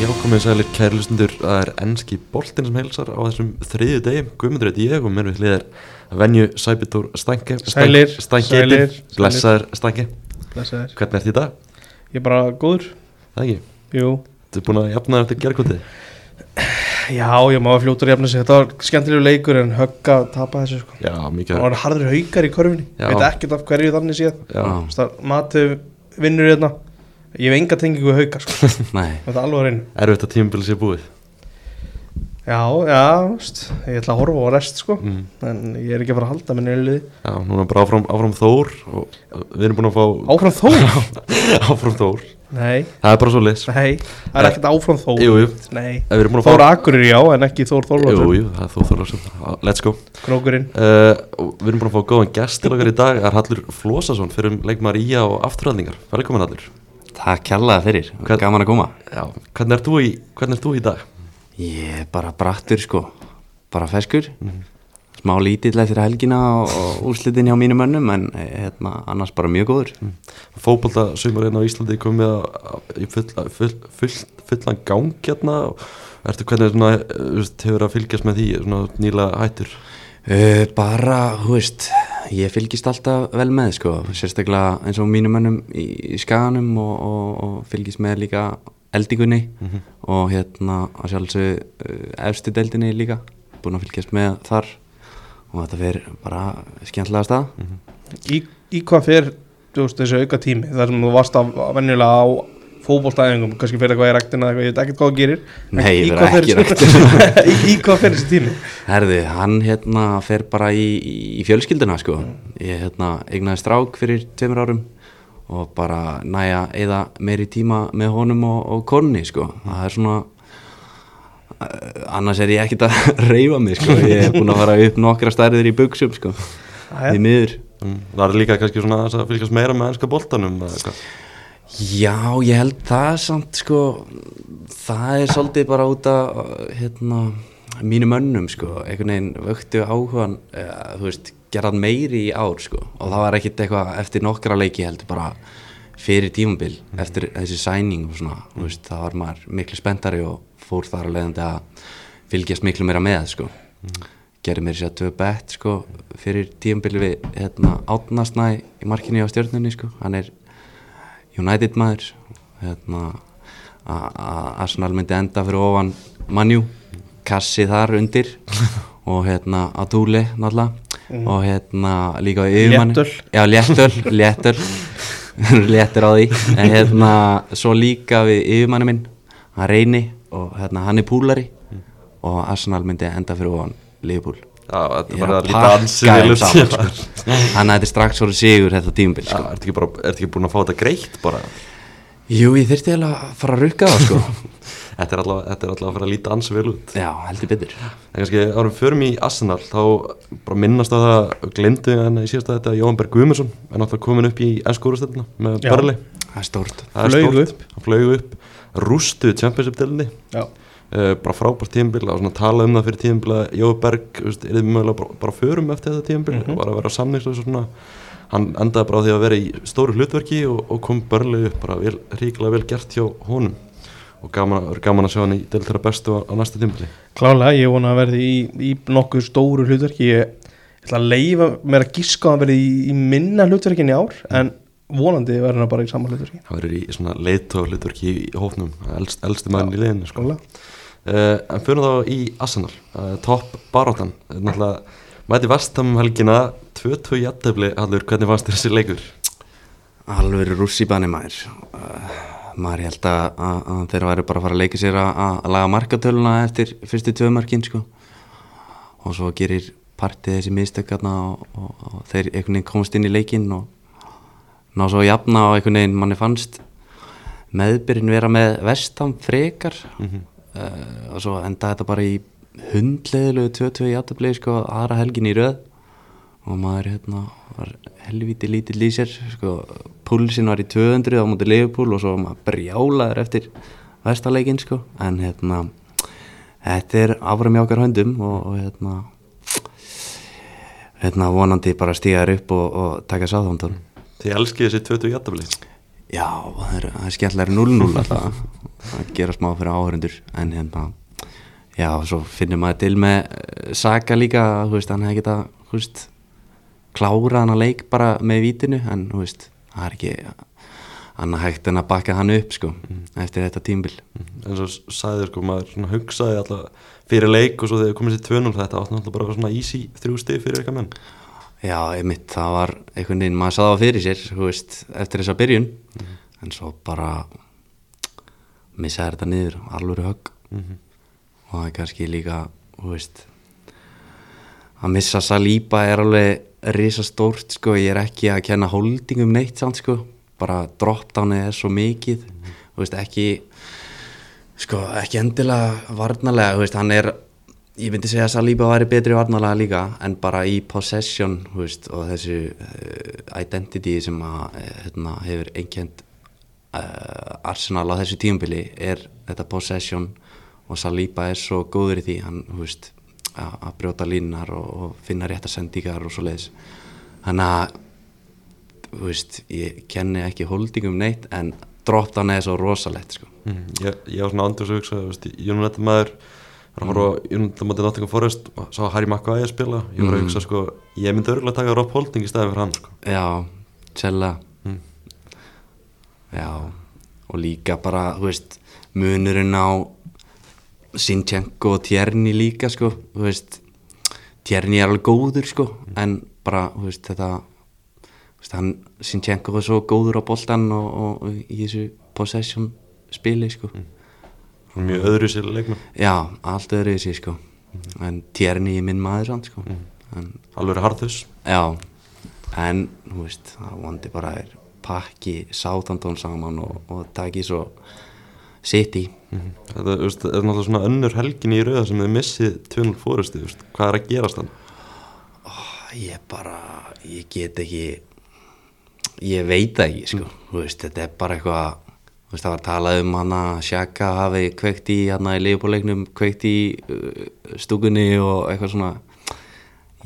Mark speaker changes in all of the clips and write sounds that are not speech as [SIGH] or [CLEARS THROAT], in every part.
Speaker 1: Já, komið sælir kærlustundur, það er ennski boltinn sem heilsar á þessum þriðju degi, Guðmundur veit ég og mér við hliðar venju Sæbitur Stænke
Speaker 2: Sælir, sælir,
Speaker 1: Stænke,
Speaker 2: sælir.
Speaker 1: blessaður Stænke
Speaker 2: Blessaður.
Speaker 1: Hvernig ert í dag?
Speaker 2: Ég er bara góður
Speaker 1: Það ekki,
Speaker 2: Jú
Speaker 1: þú er búin að jafna þér eftir gerkvöldið
Speaker 2: Já, ég má að fljóta að jafna sig Þetta var skemmtilegu leikur en högg að tapa þessu sko
Speaker 1: Já, mikið
Speaker 2: Það
Speaker 1: [LAUGHS]
Speaker 2: var harður haukar í körfinni
Speaker 1: Já.
Speaker 2: Veit ekkert af hverju þannig séð
Speaker 1: Já,
Speaker 2: Þar, Mati vinnur hérna Ég hef enga tengingu við haukar
Speaker 1: [LAUGHS]
Speaker 2: sko
Speaker 3: Nei,
Speaker 2: Þetta er alveg reynu
Speaker 1: erfitt að tímabili sé búið
Speaker 2: Já, já, veist, ég ætla að horfa á rest sko
Speaker 1: mm.
Speaker 2: En ég er ekki að fara að halda minni liði
Speaker 1: Já, núna bara áfram, áfram Þór og uh, við erum búin að fá
Speaker 2: Áfram Þór?
Speaker 1: [LAUGHS] áfram Þór
Speaker 2: Nei,
Speaker 1: Það er bara svo leys
Speaker 2: nei, það er ekkert áfram Þór
Speaker 1: Jú, jú,
Speaker 2: Nei,
Speaker 1: við erum búin að fá
Speaker 2: Þór Akurir já en ekki Þór
Speaker 1: Jú,
Speaker 2: Þórlóður
Speaker 1: jú, það er Þór Þorlarsson, let's go
Speaker 2: Krókurinn
Speaker 1: Uh, og við erum búin að fá góðan gest til okkar í dag Það er Hallur Flósason fyrir um leikmar Ía og afturhaldningar Velkomin Hallur
Speaker 3: það kjallaði fyrir,
Speaker 1: Hvern-
Speaker 3: gaman að koma
Speaker 1: Já. Hvernig ert þú í, hvernig ert þú í dag?
Speaker 3: Ég er bara brattur sko, bara feskur Smá lítill eftir helgina og, og úrslitin hjá mínum önnum En eh, hérna, annars bara mjög góður
Speaker 1: Fótbolta sumarinn hérna á Íslandi komið að, að, í full, að full, full, fullan gang hérna og Ertu hvernig er svona, uh, veist, hefur að fylgjast með því svona nýla hættur?
Speaker 3: uh, Bara, hú veist, ég fylgist alltaf vel með sko Sérstaklega eins og mínum önnum í, í skaganum og, og, og fylgist með líka eldingunni Og hérna, að sjálfsög, uh, efstu deldinni líka Búin að fylgjast með þar Og þetta fyrir bara skemmtilega stað
Speaker 2: í, í hvað fer þú veist, þessi auka tími þar sem þú varst að venjulega á fótbollstæðingum, kannski fyrir eitthvað í rektina eða eitthvað, ég veit ekkert hvað þú gerir en
Speaker 3: Nei, ég
Speaker 2: í
Speaker 3: fer
Speaker 2: hvað fer-
Speaker 3: ekki í ræktina.
Speaker 2: [LAUGHS] í, í hvað fer þessi tími
Speaker 3: Herði, hann hérna fer bara í, í fjölskylduna sko. Ég hérna eignaði strák fyrir tveimur árum og bara næja eða meiri tíma með honum og, og konni sko. Það er svona, eh, annars er ég ekkert að [LAUGHS] reyfa mig sko. Ég er búin að fara upp nokkra stærðir í buksum sko.
Speaker 2: Jæja.
Speaker 3: Í miður.
Speaker 1: Mm. Það er líka kannski svona aðeins að fylgjast meira með ennska boltanum eða eitthvað.
Speaker 3: Já, ég held það samt sko, það er svolítið bara út af hérna, mínum önnum sko, einhvern veginn vöktu áhugan, eða, þú veist, gerðan meiri í ár sko og það var ekkit eitthvað eftir nokkra leiki heldur bara fyrir tímabil, eftir þessi sæning og svona, þú veist, það var maður miklu spenntari og fór þar að leiðandi að fylgjast miklu meira með sko. Gerði mér sér að tvö bett sko fyrir tímabil við hérna, átnasnæ í markinu á stjórnunni sko, hann er United maður hérna, a- a- Arsenal myndi enda fyrir ofan Manju, kassi þar undir
Speaker 1: [LAUGHS]
Speaker 3: og hérna að túli náttúrulega
Speaker 1: Mhm.
Speaker 3: og hérna líka yfirmann
Speaker 2: Léttöl.
Speaker 3: já,
Speaker 1: [LAUGHS]
Speaker 3: léttöl, léttöl [LAUGHS] léttur á því en hérna svo líka við yfirmanni minn hann reyni og hérna hann er púlari
Speaker 1: Mhm.
Speaker 3: og Arsenal myndi enda fyrir ofan Liverpool
Speaker 1: Já, þetta
Speaker 3: Ég
Speaker 1: er bara
Speaker 3: að
Speaker 1: að líta
Speaker 3: pakka
Speaker 1: ansið
Speaker 3: þeim
Speaker 1: vel upp
Speaker 3: saman,
Speaker 1: síðan. [LAUGHS]
Speaker 3: sko. þannig að þetta er strax orðið sigur þetta tímabil
Speaker 1: Já,
Speaker 3: sko.
Speaker 1: ertu ekki, bara- ertu ekki búin að fá þetta greitt bara?
Speaker 3: Jú, ég þyrfti eiginlega að fara að rukka það sko
Speaker 1: Þetta er allavega þetta er allavega að fara að líta ansið vel út
Speaker 3: [LAUGHS] Já, heldur betur
Speaker 1: En kannski árum förum í Arsenal þá bara minnast á það og glindu hann í síðasta þetta Jóhann Berg Guðmundsson er náttúrulega komin upp í ennskúrastöldina með
Speaker 2: Já.
Speaker 1: Barley
Speaker 3: Það er stórt
Speaker 1: Það er
Speaker 2: Flaug
Speaker 1: stórt. hann flög upp rústu Championship-delni
Speaker 2: já,
Speaker 1: uh, bara frábært tíðanbíl og svona tala um það fyrir tíðanbíl að Jóhann Berg er þið mögulega bara, bara förum eftir þetta tíðanbíl
Speaker 2: Mhm.
Speaker 1: mm og bara að vera samningslega svona hann endaði bara á því að vera í stóru hlutverki og, og kom Barley upp bara vel, ríkilega vel gert hjá honum og gaman, verður gaman að sjá hann í deltara bestu á, á næsta tíðanbíli
Speaker 2: klálega, ég vona að verði í, í nokkuð stóru hlutverki ég ætla að leifa mér að gíska að hann verði í, í minna hlutverkin í ár en vonandi verður hann bara í sama hlutverki
Speaker 1: Það verður í svona leiðtóð hlutverki í hófnum, elst, elsti mann í leiðinu sko. uh,
Speaker 2: Klálega.
Speaker 1: En fyrir þá í Arsenal, uh, topp baróttan Náttúrulega, mæti vestam um helgina 2-2 jættefli, allur, hvernig fannst þér þessi leikur?
Speaker 3: Alveg rússibanni maður uh, Maður held að, að, að þeirra væri bara að fara að leika sér að, að að laga markatöluna eftir fyrstu tvömarkin sko. og svo gerir partið þessi mistökkarna og, og, og þeir einhvern veginn komast inn í leikin og ná svo að jafna og einhvern veginn manni fannst meðbyrinn vera með vestam frekar uh, og svo enda þetta bara í hundleðilegu 22 játtöflegi sko aðra helgin í röð og maður hérna var helviti lítill í sér sko púlsinn var í 200 á móti leifupúl og svo var maður brjálaður eftir vestaleikin sko en hérna þetta er áfram í okkar höndum og, og hérna hérna vonandi bara stíðar upp og, og taka sáðhóndan
Speaker 1: Þið elskið þessi 2-2 jættefli
Speaker 3: Já, það er, það er skemmtilega 0-0 alltaf að gera smá fyrir áhörundur en hérna, já, svo finnum maður til með eh, Saka líka, þú veist, hann hefði geta, þú veist klára hann að leik bara með vítinu en, þú veist, það er ekki annað hægt en að bakka hann upp, sko eftir þetta tímbil
Speaker 1: Mhm. en svo sagði sko maður svona hugsaði alltaf fyrir leik og svo þegar komið sér tvönum þetta átti náttúrulega bara svona easy þrjú stig fyrir eitthvað menn
Speaker 3: Já, einmitt, það var einhvern veginn, maður saði það fyrir sér, þú veist, eftir þessa byrjun, en svo bara missaði þetta niður, alvöru högg og það er kannski líka, þú veist, að missa Saliba er alveg risastórt, sko, ég er ekki að kenna holdingum neitt samt, sko, bara drop-downið er svo mikið, þú veist, ekki, sko, ekki endilega varnalega, þú veist, hann er ég myndi segja að Saliba væri betri varnalega líka en bara í possession þú veist, og þessu uh, identity sem að, eh, hérna, hefur einkjönd uh, Arsenal á þessu tíumbili er þetta possession og Saliba er svo góður í því hann, þú veist, að að brjóta línar og, og finna réttar sendingar og svo leiðis þannig að þú veist, ég kenni ekki holdingum neitt en droppt hann eða svo rosalegt sko.
Speaker 1: Mm, ég, ég var svona andur sem hugsaði, veist, United maður var að horfa á United maður Nottingham Forest og sá Harry Maguire spila ég var að hugsa sko, ég myndi örgulega taka Rob Holding í staðin fyrir hann sko.
Speaker 3: Já, Cella
Speaker 1: Mm.
Speaker 3: Já og líka bara, þú veist munurinn á Sinchenko og Tjerni líka sko, þú veist Tjerni er alveg góður sko, en bara þú veist, þetta þú veist, hann, Sinchenko var svo góður á boltan og, og, í þessu possession spili sko
Speaker 1: Svona mjög öðru sér leikmenn
Speaker 3: Já, allt öðru þessi sko en Tjerni er minn maður sann sko en
Speaker 1: alveg harðus
Speaker 3: Já, en þú veist, það vondi bara er pakki sátandón saman og, og taki svo sitt í.
Speaker 1: þetta þú veist, er náttúrulega svona önnur helgin í rauða sem þið missið 2-0 Forest þú veist, hvað er að gerast þann
Speaker 3: Ég bara, ég get ekki, ég veit það ekki, sko. Þú veist, þetta er bara eitthvað, þú veist, það var talað um hana, Sjaka hafi kveikt í, hana í leifbóleiknum, kveikt í uh, stúkunni og eitthvað svona.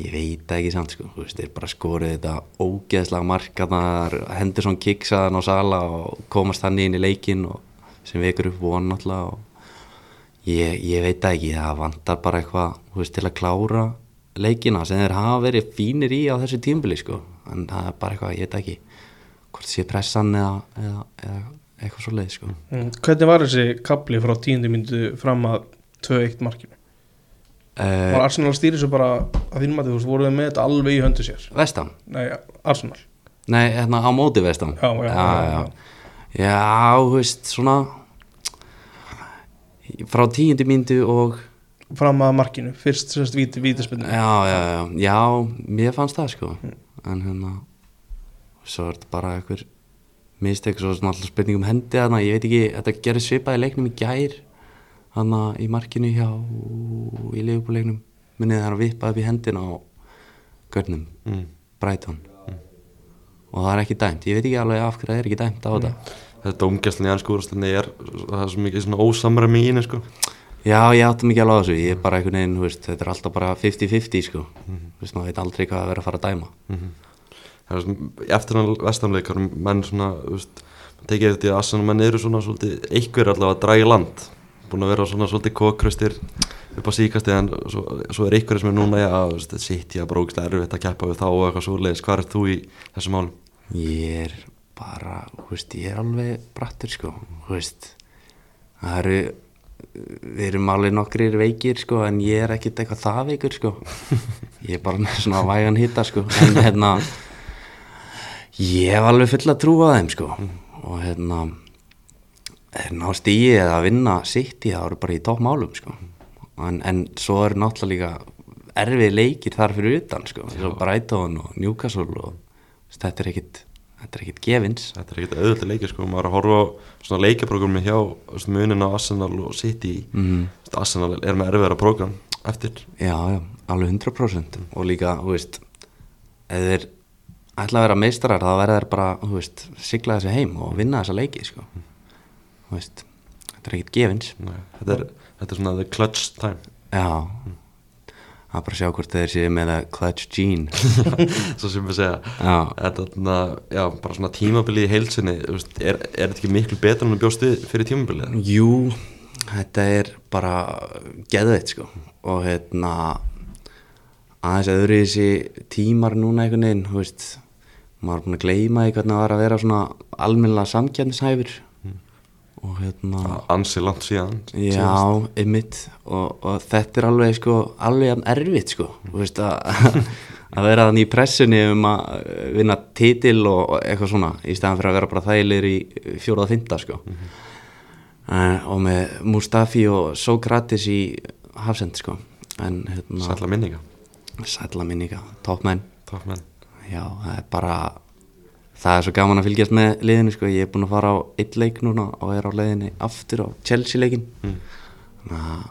Speaker 3: Ég veit það ekki samt, sko. Þú veist, þeir bara skorið þetta ógeðslega hérna, markaðar, hendur svona kiksaðan á sala og komast þannig inn í leikinn og sem vekur upp von náttúrulega og Ég, ég veit það ekki, það vantar bara eitthvað þú veist, til að klára leikina sem þeir hafa verið fínir í á þessu tímbili sko. en það er bara eitthvað, ég veit það ekki hvort sé pressan eða, eða, eða eitthvað svo leið sko.
Speaker 2: Mm, Hvernig var þessi kapli frá tíundu myndu fram að 2-1 markinu?
Speaker 3: uh,
Speaker 2: Var Arsenal stýrið svo bara að þínum að þú veist, voruð þið með þetta alveg í höndu sér?
Speaker 3: Vestam,
Speaker 2: Nei, Arsenal
Speaker 3: nei, hérna á móti Vestam
Speaker 2: Já, já, já, já.
Speaker 3: já. Já, þú veist, svona frá tíundu myndu og
Speaker 2: fram að markinu, fyrst sérst víti, vítaspinnu
Speaker 3: já, já, já, já, mér fannst það sko en hérna svo er þetta bara einhver mistök, svo er svona alltaf spurning um hendi þannig ég veit ekki, þetta gerir svipað í leiknum í gær þannig í markinu hjá í leifbúleiknum minnið það er að vippa upp í hendina á görnum,
Speaker 1: mm.
Speaker 3: Brighton og það er ekki dæmt, ég veit ekki alveg af hverju það er ekki dæmt á þetta
Speaker 1: þetta dómgæslan í ansku úrstinni er það er svo mikið svona ósamræmi í henni sko.
Speaker 3: Já, ég átti mikið alveg á þessu, ég er bara einhvern veginn, þú veist, þetta er alltaf bara 50-50 sko, þú veist, maður veit aldrei hvað að vera að fara að dæma.
Speaker 1: Það er svona- eftir hann vestanleikar menn svona þú veist, maður tekið eftir því að Assan menn eru svona svolítið einhver allavega að draga í land búin að vera svona svolítið kokkröstir upp á síkastið en svo, svo er einhverjir sem er núna að sitt ég að brókislega erfitt að keppa við þá og eitthvað svoleiðis hvað er þú í þessum málum?
Speaker 3: Ég er bara, þú veist, ég er alveg brattur sko, þú veist, það eru, við erum alveg nokkrir veikir sko, en ég er ekkit eitthvað það veikur sko, ég er bara með svona vægan hitta sko, en hérna, ég hef alveg full að trúa þeim sko, og hérna, þeir ná stíið eða að vinna sitt í það eru bara í toppmálum sko, en, en svo eru náttúrulega líka erfið leikir þar fyrir utan sko, eins og Brighton og Newcastle og þetta er ekkit, þetta er ekkit gefins
Speaker 1: Þetta er ekkert auðvitað leikir sko, maður er að horfa á svona leikjaprógrami hjá þú veist, munin á Arsenal og City mm. Arsenal er með erfiðara prógram eftir
Speaker 3: Já, já, alveg 100% og líka, þú veist ef þeir ætla að vera meistarar þá verða þeir bara, þú veist, sigla þessu heim og vinna þessa leiki, sko þú veist, þetta er ekkit gefins
Speaker 1: Nei, þetta, er, þetta er svona the clutch time
Speaker 3: Já, Það er bara að sjá hvort þeir séu með að clutch jean
Speaker 1: [LAUGHS] svo sem við segja
Speaker 3: Já.
Speaker 1: þetta, þarna, já, bara svona tímabilið í heilsinni þú veist, er, er þetta ekki miklu betra en að bjóst við fyrir tímabilið?
Speaker 3: Jú, þetta er bara geðveitt sko og hérna aðeins öðru þessi tímar núna einhvern veginn, þú veist maður er búin að gleyma því hvernig það var að vera svona almennilega samkjarnishæfur og hérna
Speaker 1: ansi langt síðan
Speaker 3: Já, ymmit og, og þetta er alveg sko, alveg jafn erfitt sko, þú veist að að vera þannig í pressunni um að vinna titil og, og eitthvað svona í staðan fyrir að vera bara þægilegir í fjórað þynda sko en, og með Mustafi og Sokrates í Hafsend sko en hérna,
Speaker 1: sætla minninga,
Speaker 3: sætla minninga, toppmenn
Speaker 1: takk menn
Speaker 3: Já, það er bara það er svo gaman að fylgjast með liðinu sko. ég er búinn að fara á eitt leik núna og er á leiðinni aftur á Chelsea leikin þannig að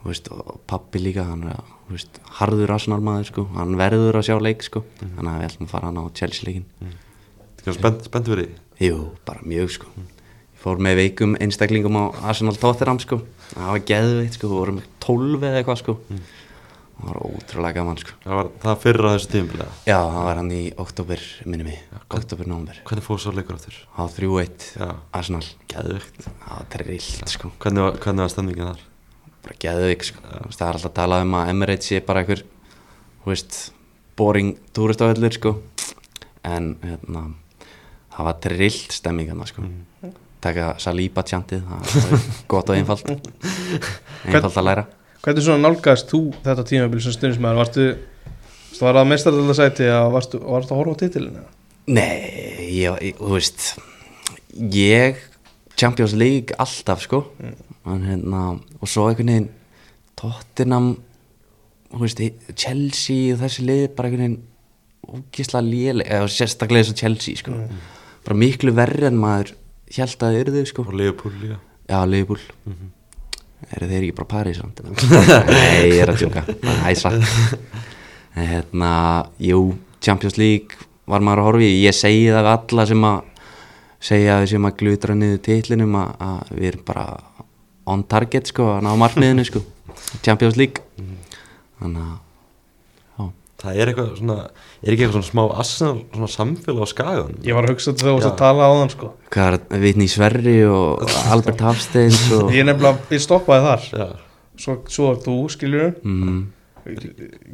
Speaker 3: þú veist, og pappi líka hann er að, þú veist, harður Arsenal maður sko. hann verður að sjá leik sko. þannig að við ætlum að fara hann á Chelsea leikin
Speaker 1: Þetta er spennt, spennt fyrir því
Speaker 3: jú, bara mjög sko ég fór með veikum einstaklingum á Arsenal Tottenham sko, það var geðveitt sko, við vorum 12 eða eitthvað sko það var ótrúlega gaman sko
Speaker 1: Það var það fyrra þessu tímabilið
Speaker 3: já, það var hann í oktober minnum ég, oktober-nómber
Speaker 1: Hvernig fóðu svo leikur áttur?
Speaker 3: á 3-1
Speaker 1: Já.
Speaker 3: Arsenal
Speaker 1: Geðvögt
Speaker 3: það var trillt sko
Speaker 1: Hvernig var, hvernig var stemningin þar?
Speaker 3: bara geðvik sko Þú veist, það er alltaf að tala um að Emirates sé bara einhver þú veist boring túristafellur sko en hérna það var trillt stemming hann sko taka Saliba tjantið það var gott og einfalt einfalt að læra
Speaker 2: Hvernig svona nálgast þú þetta tímabil sem stundismæður? Varstu, varstu var að mestarlega sæti að varstu, varstu að horfa á titilinu?
Speaker 3: Nei, ég, ég- þú veist ég Champions League alltaf sko en, hérna, og svo einhvern veginn Tottenham þú veist, Chelsea og þessi lið bara einhvern veginn ógisla léleg eða sérstaklega þess að Chelsea sko bara miklu verri en maður held að þið eru þau sko
Speaker 1: Og Leopold líka
Speaker 3: Já, Liverpool Eru þeir ekki bara parið samt? [LAUGHS] Nei, ég er að tjóka Æsa En hérna, jú, Champions League var maður að horfa í Ég segi það við alla sem að segja að við sem að glutra niður titlinum að, að við erum bara on target sko, að ná markmiðinu sko Champions League Þannig að, já,
Speaker 1: Það er eitthvað svona Er ekki eitthvað svona smá Arsenal Svona samfélag á skagan
Speaker 2: Ég var að hugsa þetta þegar þú varst að tala á þann sko
Speaker 3: hvað er Vitni Sverri og Albert Hafsteins og
Speaker 2: [LAUGHS] Ég nefnilega, ég stoppaði þar
Speaker 1: Já
Speaker 2: Svo, svo þú, skiljur
Speaker 3: mm,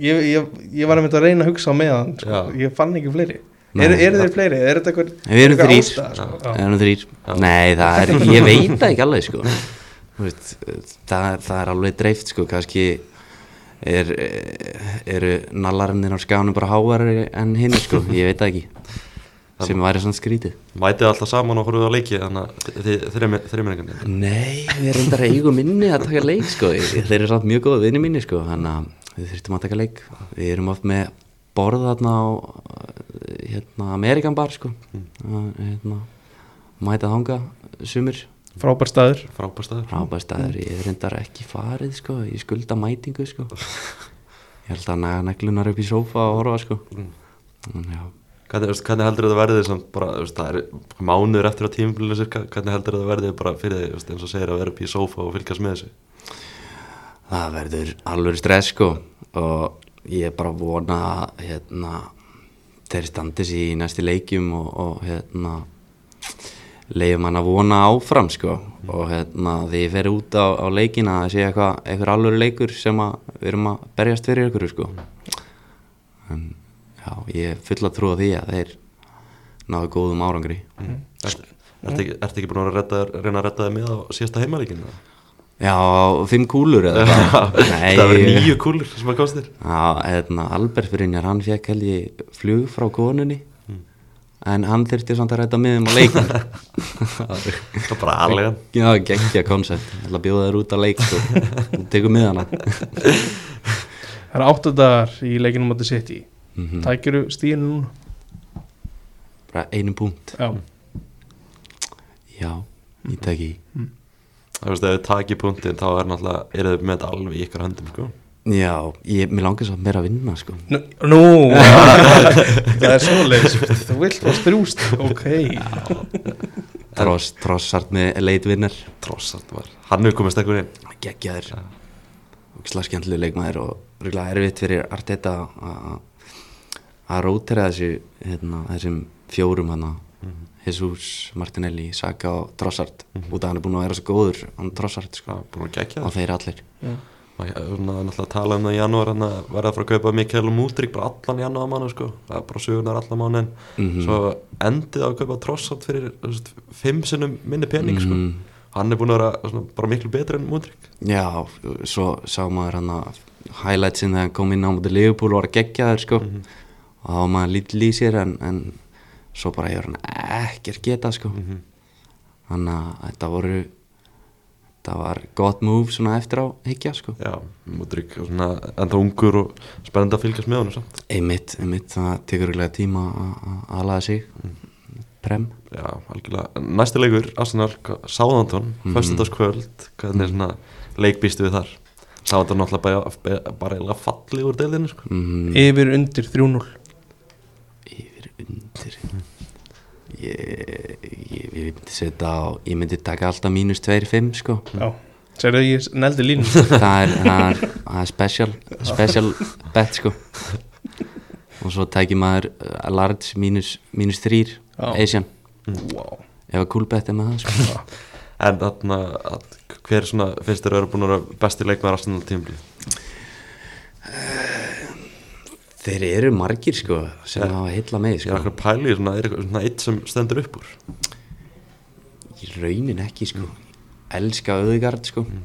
Speaker 2: ég, ég, ég var að mynda að reyna að hugsa á meðan sko.
Speaker 1: Já.
Speaker 2: Ég fann ekki fleiri
Speaker 3: Nei.
Speaker 2: Eru er þeir fleiri? Er þetta einhver
Speaker 3: Við erum
Speaker 2: einhver
Speaker 3: þrír.
Speaker 2: ástæða, sko? Já.
Speaker 3: Það eru þrýr Nei, það er, [LAUGHS] ég veit það ekki alveg sko. Þú veist, það, það er alveg dreift sko, kannski er, eru nallarinnir á skjánum bara hávarari en hinn sko, ég veit það ekki sem væri svona skrítið
Speaker 1: Mætið alltaf saman og horfið á leiki Þannig að þið þreiminningandi
Speaker 3: Nei, við erum þetta eigum minni að taka leik sko, Ég- þeir eru samt mjög góða vinni mínir sko, þannig að við þurftum að taka leik við erum oft með borð þarna á hérna, Amerikan bar sko Að, hérna, mæta þanga sumir
Speaker 2: Frábær staður
Speaker 1: Frábær staður
Speaker 3: frábær staður, ég er reyndar ekki farið sko, ég skulda mætingu sko ég held að næga neglunar upp í sófa og horfa sko en já,
Speaker 1: Hvernig, þú veist, hvernig heldur þetta verðið sem bara, þú veist, það er mánuður eftir á tímubilinu sér, hvernig heldur þetta verðið bara fyrir þig, þú veist, eins og segir að vera upp í sófa og fylgjast með þessu?
Speaker 3: það verður alveg stress sko og ég er bara að vona að, hérna, þeir standi sér í næsti leikjum og, og hérna leiðum hann að vona áfram sko og hérna þegar ég fer út á, á leikina að sé eitthvað, eitthvað alveg leikur sem að við erum að berjast fyrir ykkur sko en já, ég er full að trúa því að þeir náðu góðum árangri
Speaker 1: Ert, ert, Mm. ekki, ert ekki búin að, redda, reyna að redda þig með á síðasta heimalikinu?
Speaker 3: já, fimm kúlur eða hvað?
Speaker 1: [LAUGHS] það verður nýju kúlur sem að kostir.
Speaker 3: Já, hérna, Albert Brynjar, hann fekk held ég flug frá konunni en hann þurfti samt að ræta miðum á leikun
Speaker 1: Það er bara aðlegan.
Speaker 3: [LAUGHS] Já, geggja koncept, ég ætla að bjóða þér út á leik og þú tekur miðana
Speaker 2: Það eru áttu dagar í leikinum átti sitt í
Speaker 3: Mhm.
Speaker 2: Tækjuru stíðinu núna
Speaker 3: bara einum punkt
Speaker 2: Já,
Speaker 3: Já, ég tek í
Speaker 1: Þú veist, ef þið takir punktin þá er náttúrulega, eru þið með þetta alveg í ykkar höndum, sko.
Speaker 3: Já, ég, mér langar svo meira að vinna sko
Speaker 2: nú, nú [LAUGHS] Það er svoleiðis Þú vilt fá strjúst, ok
Speaker 3: Tross, trossart með leitvinnar
Speaker 1: Trossart var. Hann hefur komið stekkur inn.
Speaker 3: geggjaður og slaskjandlu leikmaður og örugglega erfitt fyrir Arteta að- að rótera þessu hérna, þessum fjórum hana
Speaker 1: Mhm.
Speaker 3: Jesus, Martinelli, Saka og Trossard út af hann er búin að vera svo góður hann Trossard sko,
Speaker 1: Já, búin að gegja
Speaker 3: og þeir allir
Speaker 1: Það er náttúrulega að tala um það í janúar hann að verða að fara að kaupa Mikael Mútrík bara allan janúar mánu sko það er bara sögurnar allan mánu en svo endið á að kaupa trossart fyrir þú veist, fimm sinnum minni pening sko hann er búin að vera svona, bara miklu betri en Mútrík
Speaker 3: Já, svo sá maður hann að highlightsin þegar hann kom inn á mútið Leopold og var að gegja þér sko og þá var maður lítill í sér en, en svo bara hefur hann ekkert geta sko þannig að þetta voru þetta var gott move svona eftir á higgja sko
Speaker 1: Já, Mútrík enda ungur og spennandi að fylgjast með honum samt
Speaker 3: einmitt, einmitt, það tekur eiginlega tíma að- að aðlaða sig prem
Speaker 1: Já, algjörlega Næsti leikur, Arsenal, Sáðantón mm -hmm. Föstudagskvöld, hvernig er svona leikbýstu við þar Sáðantón náttúrulega bara, bara eiginlega falli úr deildinu sko
Speaker 3: mm,
Speaker 2: Yfir undir 3-0
Speaker 3: yfir undir ég, ég, ég myndi setja á ég myndi taka alltaf mínus 2-5 sko
Speaker 2: Já, segir það ég neldi línu [LAUGHS]
Speaker 3: það er, það er, það er special special bet sko og svo tækir maður uh, large mínus, mínus þrýr
Speaker 2: Já.
Speaker 3: Asian
Speaker 2: wow.
Speaker 3: ef að cool bet er með það sko.
Speaker 1: En þarna, að- hver svona finnst þér að vera búin að vera besti leikmaður Arsenal tímlið?
Speaker 3: þeir eru margir sko sem
Speaker 1: Já.
Speaker 3: hafa heilla með
Speaker 1: Ég er
Speaker 3: sko.
Speaker 1: akkur að pæla í svona, er eitthvað svona eitt sem stendur upp úr
Speaker 3: í raunin ekki sko elska auðgard sko
Speaker 1: Mm.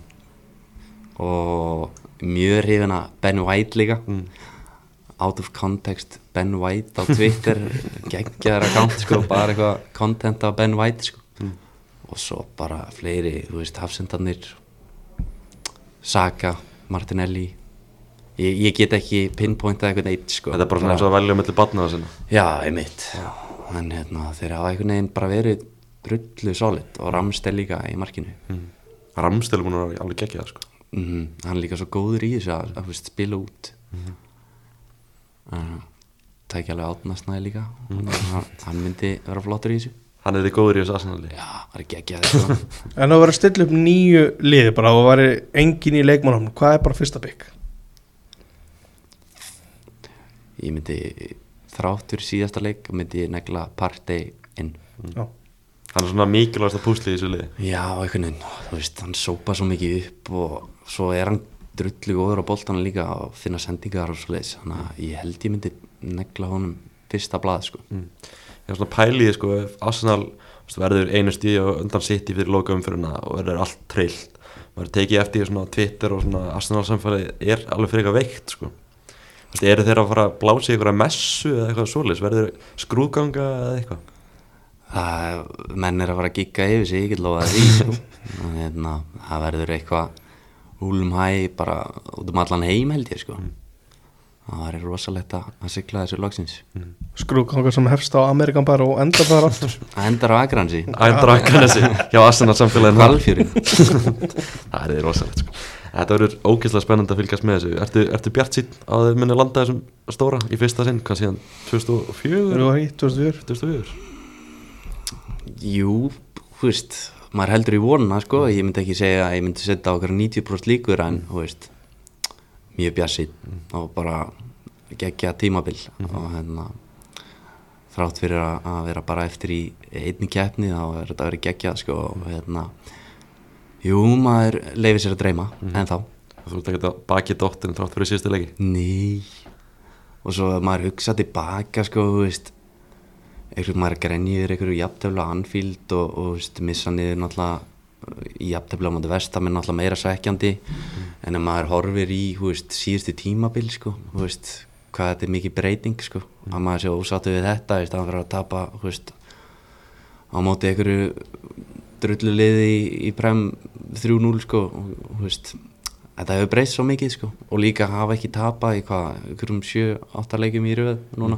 Speaker 3: og mjög hrifin að Ben White líka
Speaker 1: Mm.
Speaker 3: out of context Ben White á Twitter
Speaker 1: [LAUGHS]
Speaker 3: geggjaðar account sko bara eitthvað content af Ben White sko
Speaker 1: Mm.
Speaker 3: og svo bara fleiri þú veist hafsendarnir Saka, Martinelli ég, ég get ekki pinpointað eitthvað neitt sko
Speaker 1: Þetta er bara svona eins og að velja mellir barnaða sinna
Speaker 3: Já, einmitt En hérna, þeir hafa einhvern veginn bara verið drullu solid og Ramstel líka í markinu mm.
Speaker 1: Ramstil múin að vera alveg geggja það sko
Speaker 3: Hann er líka svo góður í þessu að, að þú veist, spila út mm. Tækja alveg átnasnaði líka hann, hann myndi vera flottur í þessu
Speaker 1: Hann er þið góður í þessu Arsenali
Speaker 3: Já, það er geggjað sko.
Speaker 2: En það var að stilla upp nýju liði bara og væri engin í leikmannum Hvað er bara fyrsta bygg?
Speaker 3: [LAUGHS] Ég myndi þráttur síðasta leik myndi ég negla partey inn
Speaker 2: Já,
Speaker 1: Hann er svona mikilvægast að púsli í þessu liði
Speaker 3: Já, einhvern veginn, þú veist, hann sópa svo mikið upp og svo er hann drullu góður á boltana líka og finna sendingar og svo leiðis, þannig að ég held ég myndi negla honum fyrsta blað, sko.
Speaker 1: Ég er svona að pæla í því sko ef Arsenal þú veist, verður einu stíð og undan sitt í fyrir loka umfyrirna og verður allt trillt maður tekið eftir í svona Twitter og svona Arsenal samfæli er alveg fyrir eitthvað veikt sko Þú veist, Eru þeir að fara að blása í eitthvað messu eða eitthvað svoleiðis, verður skrúðganga eða eitthvað
Speaker 3: Það, menn er að fara að gigga yfir sig, ég get lofað því, sko. Þannig að hérna, það verður eitthvað úlum hæ, bara út um allan heim held ég, sko. Það væri rosalegt að að sigla þessu loksins.
Speaker 2: skrúkangar sem hefst á Amerikan bara og enda bara aftur
Speaker 3: Það endar á Akransi,
Speaker 1: Ændra Akranesi hjá Arsenal samfélaginu
Speaker 3: Hvalfjörðin.
Speaker 1: [LAUGHS] Það er rosalegt sko Þetta verður ógeðslega spennandi að fylgjast með þessu Ertu, ertu bjart sín að þau muni landa þessum stóra í fyrsta sinn, hvað síðan 2004?
Speaker 2: Þegar var í 2004
Speaker 1: 2004?
Speaker 3: Jú, þú veist, maður heldur í vonuna sko, ég myndi ekki segja að ég myndi setja okkar 90% líkur en, þú veist, mjög bjassið og bara geggja tímabil og hérna, þrátt fyrir að, að vera bara eftir í einni keppni þá er þetta verið geggjað sko og hérna, jú, maður leifir sér að dreyma, en þá,
Speaker 1: Þú ert ekki að baki dóttin þrátt fyrir síðustu leiki
Speaker 3: nei, og svo ef maður hugsa tilbaka sko, þú veist, einhvern maður grenjir einhverju jafntefla anfíld og, og veist, missa niður náttúrulega í jafntefla á móti vestamenn náttúrulega meira sækjandi en ef maður horfir í þú veist, síðustu tímabil sko, þú veist, hvað þetta er mikið breyting sko, að maður sé ósattu við þetta í staðan fyrir að tapa þú veist, á móti einhverju drullu liði í, í prem 3-0 sko, og, þú veist, þetta hefur breyst svo mikið sko, og líka hafa ekki tapað í hvað, einhverjum 7-8 leikjum í röð núna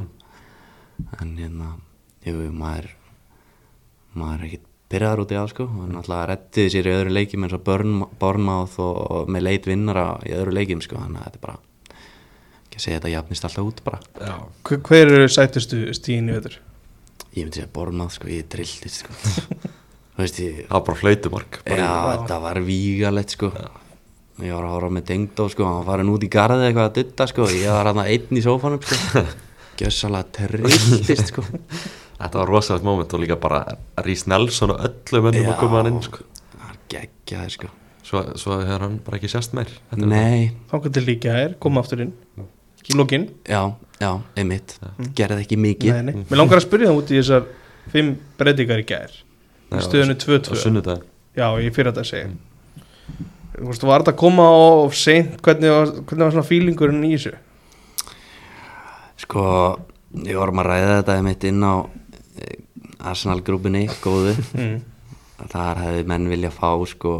Speaker 3: en hérna, jú, maður maður er ekkert pyrraðar út í það sko, hann alltaf rettiði sér í öðru leikjum eins og Bornmáð og, og með leit vinnara í öðru leikjum sko, þannig að þetta er bara ekki að segja þetta jafnist alltaf út bara
Speaker 1: Já
Speaker 2: Hver- Hver eru sætustu stíðin í vetur?
Speaker 3: ég myndi segja Bornmáð sko, ég drilltist sko þú veist ég Eh.
Speaker 1: Það var bara flautumark
Speaker 3: Já, þetta var vígalegt sko ég var að horfa með Dengdó sko, hann var farin út í garði eitthvað að dutta sko, ég var hann einn í sófanum sko,
Speaker 1: [LAUGHS]
Speaker 3: gjössalega terrillist sko.
Speaker 1: Þetta var rosalegt moment og líka bara Rís Nelson og öllu mönnum að koma hann inn sko.
Speaker 3: það var geggjaði sko.
Speaker 1: svo, svo hefur hann bara ekki sérst meir Þetta er-
Speaker 3: Nei,
Speaker 2: Þangað til líka er, koma aftur inn Í lokin
Speaker 3: já, já, einmitt, gerði ekki mikið,
Speaker 2: Nei, nei. Mér langar að spyrja það út í þessar Fimm breytingar í gær
Speaker 1: Nei,
Speaker 2: Í stöðunni
Speaker 1: á
Speaker 2: 2-2
Speaker 1: sunnudaginn
Speaker 2: Já, ég fyrir þetta að segja Þú veist, var þetta að koma og seint Hvernig var, hvernig var svona fílingurinn í þessu?
Speaker 3: Sko, við vorum að ræða þetta einmitt inn á eh, Arsenal grúpunni, góðu þar hefði menn vilja fá sko,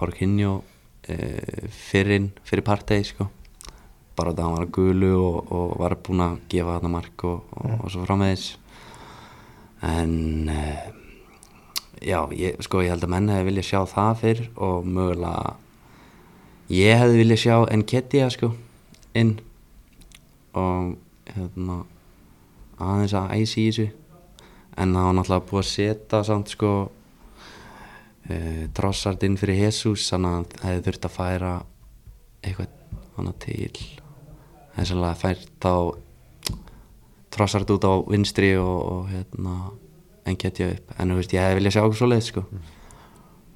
Speaker 3: Horkinjó e, fyrrin, fyrir partegi sko. bara það hann var að gulu og, og var búinn að gefa þarna mark og, og, og svo framvegis en e, já, ég, sko, ég held að menn hefði vilja sjá það fyrr og mögulega ég hefði vilja sjá Enketia sko, inn og hérna aðeins að æsi í þessu en það var náttúrulega búið að setja samt sko uh, trossart inn fyrir Jesus þannig að það hefði þurft að færa eitthvað annað til þess að fært þá trossart út á vinstri og, og hérna en getja upp, en þú veist ég hefði viljað sjá okkur svo leið sko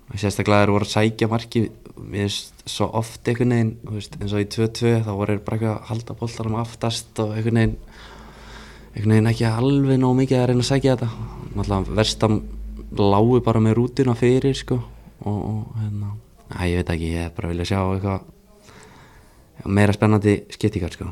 Speaker 3: og sérstaklega þeir voru að sækja marki mér finnst svo oft einhvern veginn þú veist, eins og í 2-2 þá voru þeir bara eitthvað að halda boltanum aftast og einhvern veginn einhvern veginn ekki alveg nóg mikið að reyna að sækja þetta náttúrulega verstam lágu bara með rútuna fyrir sko og, og hérna Æ, ég veit ekki, ég er bara að vilja sjá eitthvað meira spennandi skiptingar sko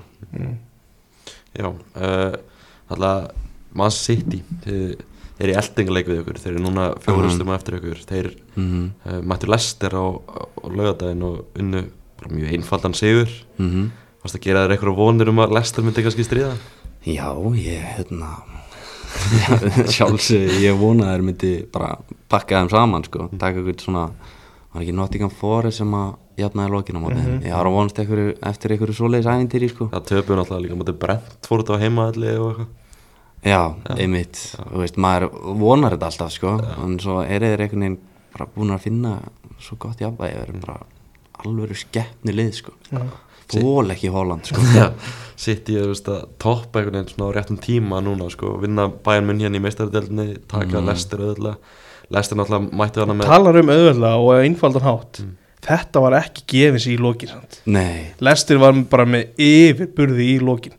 Speaker 1: Já, uh, alltaf Man City þeir þeir eru í eldingaleik við ykkur, þeir eru núna fjórustum uh eftir ykkur, þeir mm
Speaker 3: Mhm.
Speaker 1: mættu lester á, á, á laugardaginn og unnu bara mjög einfaldan sigur
Speaker 3: mhm
Speaker 1: Varst að gera þér eitthvað vonir um að lester myndi kannski stríða?
Speaker 3: Já, ég, [LAUGHS] hérna sjálfsög, ég vona að þeir myndi bara pakka þeim saman, sko taka ykkur svona, var ekki Nottingham Forest sem að jafnaði lokinn á móti mm ég var að vonast ykkur, eftir ykkur svoleiðis ævintýri, sko
Speaker 1: Það töpum alltaf líka mútið brent fórt á heimaðalli og eitthvað
Speaker 3: Já, einmitt, þú veist, maður vonar þetta alltaf, sko en svo eru þeir einhvern veginn bara búin að finna svo gott jafnvægi, þeir eru bara alvöru skeppni lið, sko ból ekki Holland, [LAUGHS] sko
Speaker 1: [LAUGHS] Já, City er veist, að toppa einhvern veginn svona á réttum tíma núna sko, vinna Bayern Munn hérna í meistardeldinni taka
Speaker 3: Mhm.
Speaker 1: lester auðvitað lester náttúrulega mættu hana með
Speaker 2: Talar um auðvöldlega og einfaldan hátt Þetta var ekki gefins í lokin sant?
Speaker 3: Nei,
Speaker 2: Lestir var bara með yfirburði í lokin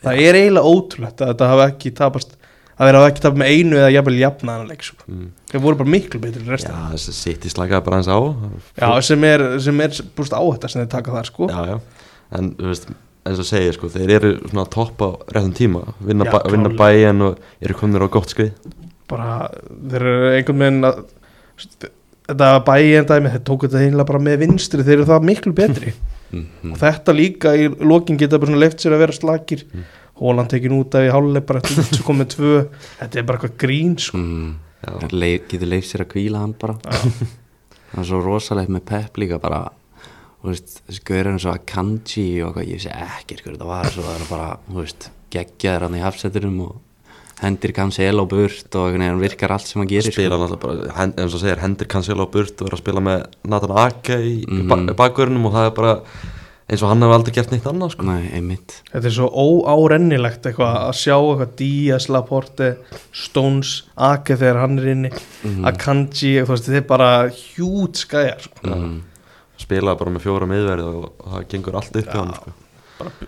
Speaker 2: Það er eiginlega ótrúlegt að þetta hafa ekki tapast að þeir hafa ekki tapast með einu eða jafnvel jafnaðanleik sko. Þeir voru bara miklu betri
Speaker 3: um
Speaker 2: en restina
Speaker 1: Já, þessi City slakaði bara hans á
Speaker 2: Já, sem er, sem er búst áhætta sem þeir taka þar sko.
Speaker 1: já, já. en þú veist eins og segja sko, þeir eru svona að toppa á réttum tíma, vinna,
Speaker 2: Já,
Speaker 1: já, vinna
Speaker 2: klárlega.
Speaker 1: bæin og eru komnir á gott skrið
Speaker 2: bara þeir eru einhvern veginn að þetta bæjinn dæmi, þeir tóku þetta einlega bara með vinstri þeir eru það miklu betri
Speaker 3: Mhm.
Speaker 2: og þetta líka í lokin geta bara svona leift sér að vera slakir Hóland tekin út af í háluleg bara svo komið tvö, þetta er bara eitthvað grín sko.
Speaker 3: mm, leif, getur leif sér að kvíla hann bara [LAUGHS] það er svo rosalegt með Pep líka bara þú veist, skauður hann svo að kanji og hvað, ég sé ekki hver þetta var svo það er bara, þú veist, geggjaður hann í hafseturum og hendir kannski el á burt og einhvern veginn virkar allt sem hann gerir sko.
Speaker 1: spila
Speaker 2: sko-
Speaker 1: náttúrulega bara, hen- eins og segir hendir Cancelo á burt og er að spila með Nathan Ake í mm -hmm. bakverunum og það er bara eins og hann hefur aldrei gert neitt annað sko.
Speaker 3: Nei, einmitt
Speaker 2: þetta er svo óárennilegt eitthvað að sjá eitthvað Díaz, Laporte Stones, Ake þegar hann er inni Akanji, þú veist, þetta er bara hjút skæjar sko.
Speaker 1: spila bara með fjóra miðverði og, og það gengur allt upp hjá hann sko.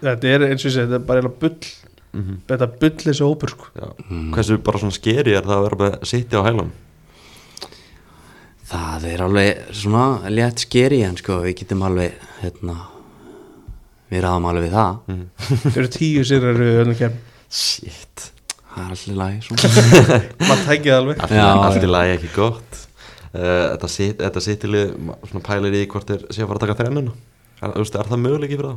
Speaker 2: þetta er eins og ég segi, þetta er bara eiginlega bull þetta bull þessi hópur sko.
Speaker 1: Já. hversu bara svona skeri er það að vera með City á hælum
Speaker 3: Það er alveg svona létt skeri en sko, við getum alveg hérna, við ráðum alveg við það
Speaker 2: Þau eru tíu sigrar í öllum kemn
Speaker 1: shit,
Speaker 3: það er allir lagi sko. svona
Speaker 2: maður tækja það alveg
Speaker 1: allt,
Speaker 3: Já,
Speaker 1: allt í lagi ekki gott uh, þetta, sit, þetta sittilið ma- svona pælir í hvort þeir sé að fara að taka þrennuna er, úst, er það möguleiki fyrir þá?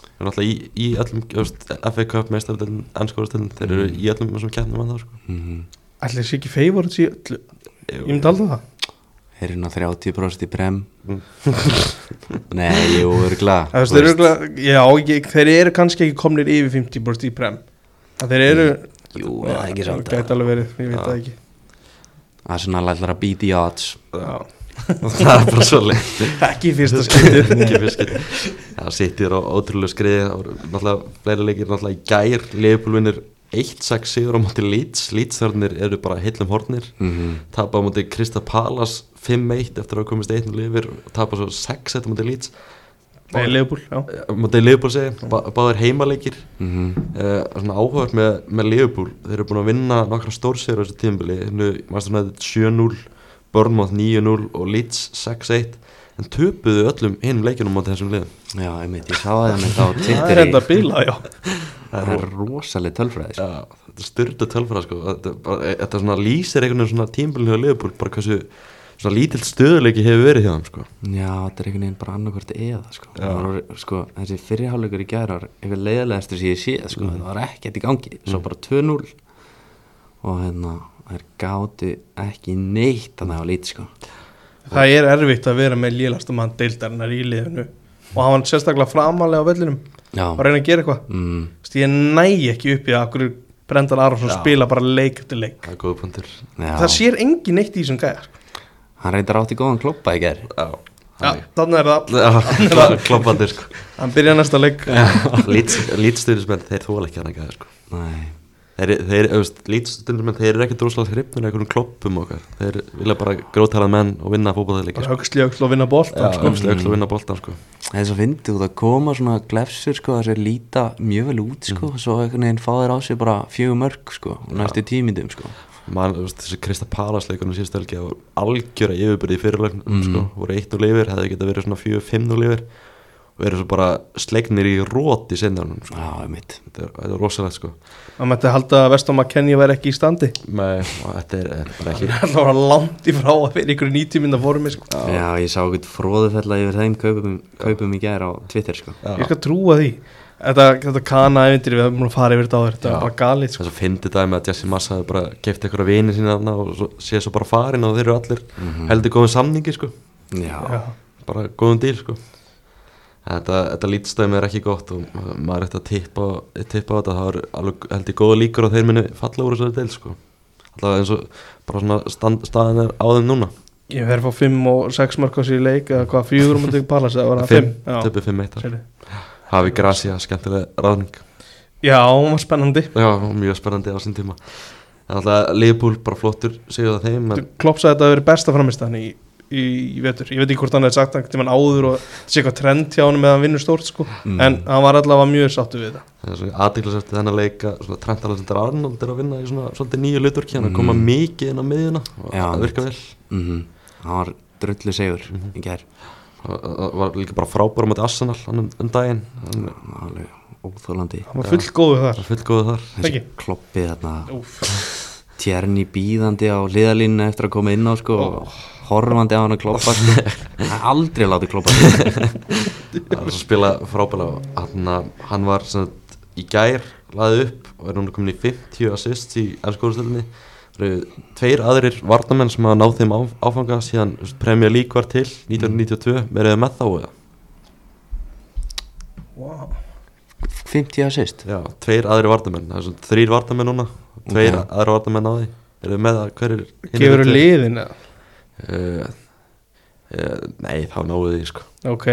Speaker 1: Það er náttúrulega í, í öllum úst, FA Cup, meistaröldin, ennskóðaröldin þeir eru í öllum þessum keppnum að það sko.
Speaker 3: Mhm.
Speaker 2: Allir sé ekki favorit í öllu
Speaker 1: Jú. [LAUGHS]
Speaker 2: Ég myndi aldrei það
Speaker 3: Þeir eru ná 30% í brem [LAUGHS] Nei, jú, örgla
Speaker 2: Mm. Það veist, þeir, eru, örugglega- já, ég, þeir eru kannski ekki komnir yfir 50% í prem Það þeir eru
Speaker 3: Jú, er það er ekki samt
Speaker 2: Gæti alveg verið, ég veit það ekki
Speaker 3: Arsenal ætlar að býta í odds
Speaker 2: Já
Speaker 1: það er bara svo leitt
Speaker 2: ekki í fyrsta skipti
Speaker 1: ekki fiskir það sittir á ótrúlega skriði það voru náttúrulega fleiri leikir náttúrulega í gær leifbúlvinir 1-6 sigur á móti Leeds Leeds þarnir eru bara heillum hornir
Speaker 3: mm
Speaker 1: tapa á móti Krista Palas 5-1 eftir að hafa komist 1-0 yfir og tapa svo 6-1 á móti Leeds
Speaker 2: Nei, Leopold, já
Speaker 1: Á móti Leifbúl segi, bá, báðir heimaleikir
Speaker 3: mhm.
Speaker 1: uh, svona áhugað með, með Liverpool þeir eru búin að vinna nokkra stórsigur á þessu tímbili, hérna Masternæðið 7-0 Bournemouth 9-0 og Leeds 6-1 en töpuðu öllum hinum leikinum á móti þessum liðum
Speaker 3: Já, einmitt, ég sá það einmitt á
Speaker 2: það er enda
Speaker 3: Twitter í-
Speaker 2: bíla, já
Speaker 3: Það er rosaleg tölfræði sko.
Speaker 1: Já, þetta er styrta tölfara sko þetta, er bara, þetta svona lýsir einhvern veginn svona tímbilinu á Liverpool, bara hversu svona lítill stöðuleiki hefur verið hjá þeim sko
Speaker 3: Já, þetta er einhvern veginn bara annarkvort eða sko. Það var, sko, þessi fyrirháleikur í gær var eitthvað leiðilegastur sem ég sé sko.
Speaker 2: Mm.
Speaker 3: það var ekkert í gangi, svo bara 2-0 og hérna þær gátu ekki neitt þannig á lít sko.
Speaker 2: það er erfitt að vera með lélasta mann deildarinnar í liðinu og hafa hann sérstaklega framalega á vellinum
Speaker 3: Já,
Speaker 2: og reyna að gera eitthvað
Speaker 3: mm,
Speaker 2: Þú veist, ég næ ekki upp í að okkur Brendan Aronsson spila bara leik eftir leik
Speaker 1: það er góða punktur
Speaker 3: já.
Speaker 2: það sér engin neitt í þessum gæjar
Speaker 3: hann reyndar átti góðan kloppa í gær
Speaker 1: Já,
Speaker 2: ja, þannig er það,
Speaker 1: já kloppandir sko
Speaker 2: hann byrja næsta leik
Speaker 1: Lítstundismenn, þeir þóla ekki hann ekki að sko
Speaker 3: Nei,
Speaker 1: Þeir, þeir, auðvist, lítstundismenn, þeir eru ekki droslega hrifnir af einhverjum kloppum okkar Þeir vilja bara grótalað menn og vinna sko. fótballtæðleiki
Speaker 2: bara högsli öxl og vinna boltan
Speaker 1: Já,
Speaker 2: sko.
Speaker 1: öxlu, öxlu og vinna boltan sko
Speaker 3: það er svo fyndið út að koma svona glefsur sko, þessi líta mjög vel út sko, svo einhvern veginn fá þér á sig bara fjögur mörg sko, og næstu tímindum sko.
Speaker 1: Man, þú veist, þessi Krista Palasleikunum síðustu helgi það voru algjöra yfirbyrði í fyrirlögnum sko, voru 1-0 yfir, hefði getað verið svona 4-5-0 yfir og eru svo bara slegnir í rót í sendanum sko.
Speaker 3: Já, einmitt
Speaker 1: þetta, er- þetta er rosalegt sko
Speaker 2: hann mætti halda að Vestam að Kenny væri ekki í standi [LAUGHS]
Speaker 1: Nei, og þetta er, þetta er bara ekki
Speaker 2: það var langt í frá að vera ykkur 90 minna fórum sko.
Speaker 3: Já, ég sá eitthvað fróðufella yfir þeim kaupum, kaupum í gær á Twitter sko.
Speaker 2: ég skal trúa því þetta, þetta kana efindir við höfum búin að fara yfir þetta á þetta er bara galið sko.
Speaker 1: þess að fyndi dæmi að Jesse Massa hefur bara keft eitthvað vini sína þarna og svo, sé svo bara farin og þeir eru allir
Speaker 3: Mm.
Speaker 1: heldur góðum samningi sko
Speaker 3: Mhm. Já,
Speaker 2: Já.
Speaker 1: bara góðum díl sko Þetta, þetta lítstæmi er ekki gott og ma- maður er eftir að tippa, tippa á þetta það er alveg held ég góða líkur að þeir muni falla úr þessari deil sko alltaf eins og bara svona stand, staðin er á þeim núna
Speaker 2: ég verði að fá 5 og 6 mörg á sér í leik eða hvað, 4 mútið palas eða var það 5 já,
Speaker 1: töpu 5 eittar
Speaker 2: sérðu.
Speaker 1: Hafi Gracia, skemmtilega ráðning
Speaker 2: já, hún var spennandi
Speaker 1: Já, mjög spennandi á sín tíma En alltaf Leifbúl bara flottur segja það þeim en,
Speaker 2: Klopp sagði að þetta hafi verið besta framistæðan í, í, í vetur, ég veit ekki hvort hann hefði sagt það til mann áður og þetta sé eitthvað trend hjá hann með að hann vinnur stórt sko,
Speaker 1: Mm.
Speaker 2: en hann var allavega mjög sáttu við það,
Speaker 1: en svona aðdeglis eftir þennan leika svona Trent Alexander Arnold er að vinna í svona svolítið nýju luturki hann að koma mikið inn á miðjuna og
Speaker 3: Já.
Speaker 1: það virka vel
Speaker 3: mm það var drullu segur í gær
Speaker 1: Það- það var líka bara frábæra mæti Arsenal hann um, um daginn hann
Speaker 3: Alveg óþólandi
Speaker 2: hann var full góðu þar
Speaker 1: er fullgóðu þar
Speaker 2: ekki,
Speaker 3: Kloppið þarna,
Speaker 2: úf,
Speaker 3: tjerni býðandi á liðalínu eftir að koma inn á sko og horfandi á hann að kloppa [LAUGHS] sko. Það er aldrei látið kloppa sko.
Speaker 1: Það er svo að spila frábæla hann, hann var sem sagt, í gær laðið upp og er núna komin í 50 assist í ennskóðustöldinni Það eru tveir aðrir varnamenn sem hafa náð þeim áf- áfanga síðan þú veist, Premier League var til 1992 verið þið með þá eða?
Speaker 2: wow
Speaker 3: 50 assist
Speaker 1: Já, tveir aðrir varnamenn, það er svona þrýr varnamenn núna tveir
Speaker 3: Ok.
Speaker 1: aðrir varnamenn á því verið þið með að hverjir hinir
Speaker 2: gefur
Speaker 1: eru
Speaker 2: þú
Speaker 1: tveir?
Speaker 2: liðin eða?
Speaker 1: Eh, eh, Nei, þá náðu því sko
Speaker 2: ok,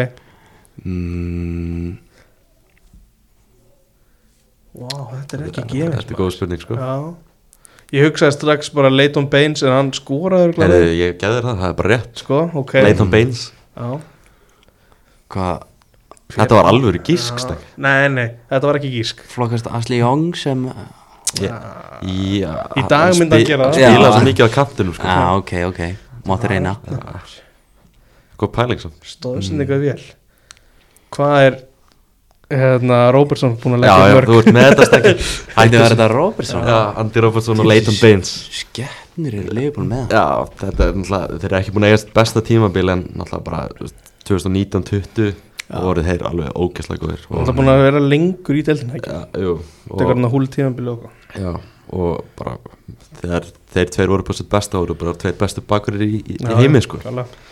Speaker 3: mm,
Speaker 2: wow, þetta er ekki
Speaker 1: Þetta
Speaker 2: gefið
Speaker 1: er góð spurning sko
Speaker 2: já, ég hugsaði strax bara Leighton Baines en hann skoraði
Speaker 1: Heru,
Speaker 2: örugglega.
Speaker 1: Ég gæði þér það, það er bara rétt
Speaker 2: sko, ok
Speaker 1: Leighton Baines,
Speaker 2: Já.
Speaker 3: Hvað
Speaker 1: þetta var alvöru gískstæk
Speaker 2: nei, nei, þetta var ekki gísk
Speaker 3: flokkast Asli Young sem
Speaker 1: Já,
Speaker 2: Í dag myndi hann gera það.
Speaker 1: það Spila
Speaker 3: Já.
Speaker 1: svo mikið á kantinum sko
Speaker 3: Já, Ah, ok, ok, máttu reyna
Speaker 1: Góð pæling svo Mm.
Speaker 2: stóðsendinga vel hvað er hérna, Robertson búin
Speaker 1: Já,
Speaker 2: að leggja í
Speaker 1: já,
Speaker 2: mörg
Speaker 1: þú ert með
Speaker 2: [LAUGHS]
Speaker 1: þetta stekki
Speaker 3: Ætti að vera þetta Robertson
Speaker 1: Já, Andy Robertson og Leighton Baines
Speaker 3: Skeppnir eru liðbúin með það
Speaker 1: Já, þetta er náttúrulega Þeir eru ekki búin að eigast besta tímabil en náttúrulega bara þú veist, 2019-20 og voru þeir alveg ógeðslega góðir
Speaker 2: Það
Speaker 1: og,
Speaker 2: er búin að vera lengur í deildin ekki
Speaker 1: já, jú,
Speaker 2: Þetta er
Speaker 1: og,
Speaker 2: hérna húl tímanbíl og eitthvað.
Speaker 1: já, og bara þegar þeir tveir voru på sitt besta voru bara tveir bestu bakurir í, í, í
Speaker 2: Já,
Speaker 1: heimi sko
Speaker 2: klálega.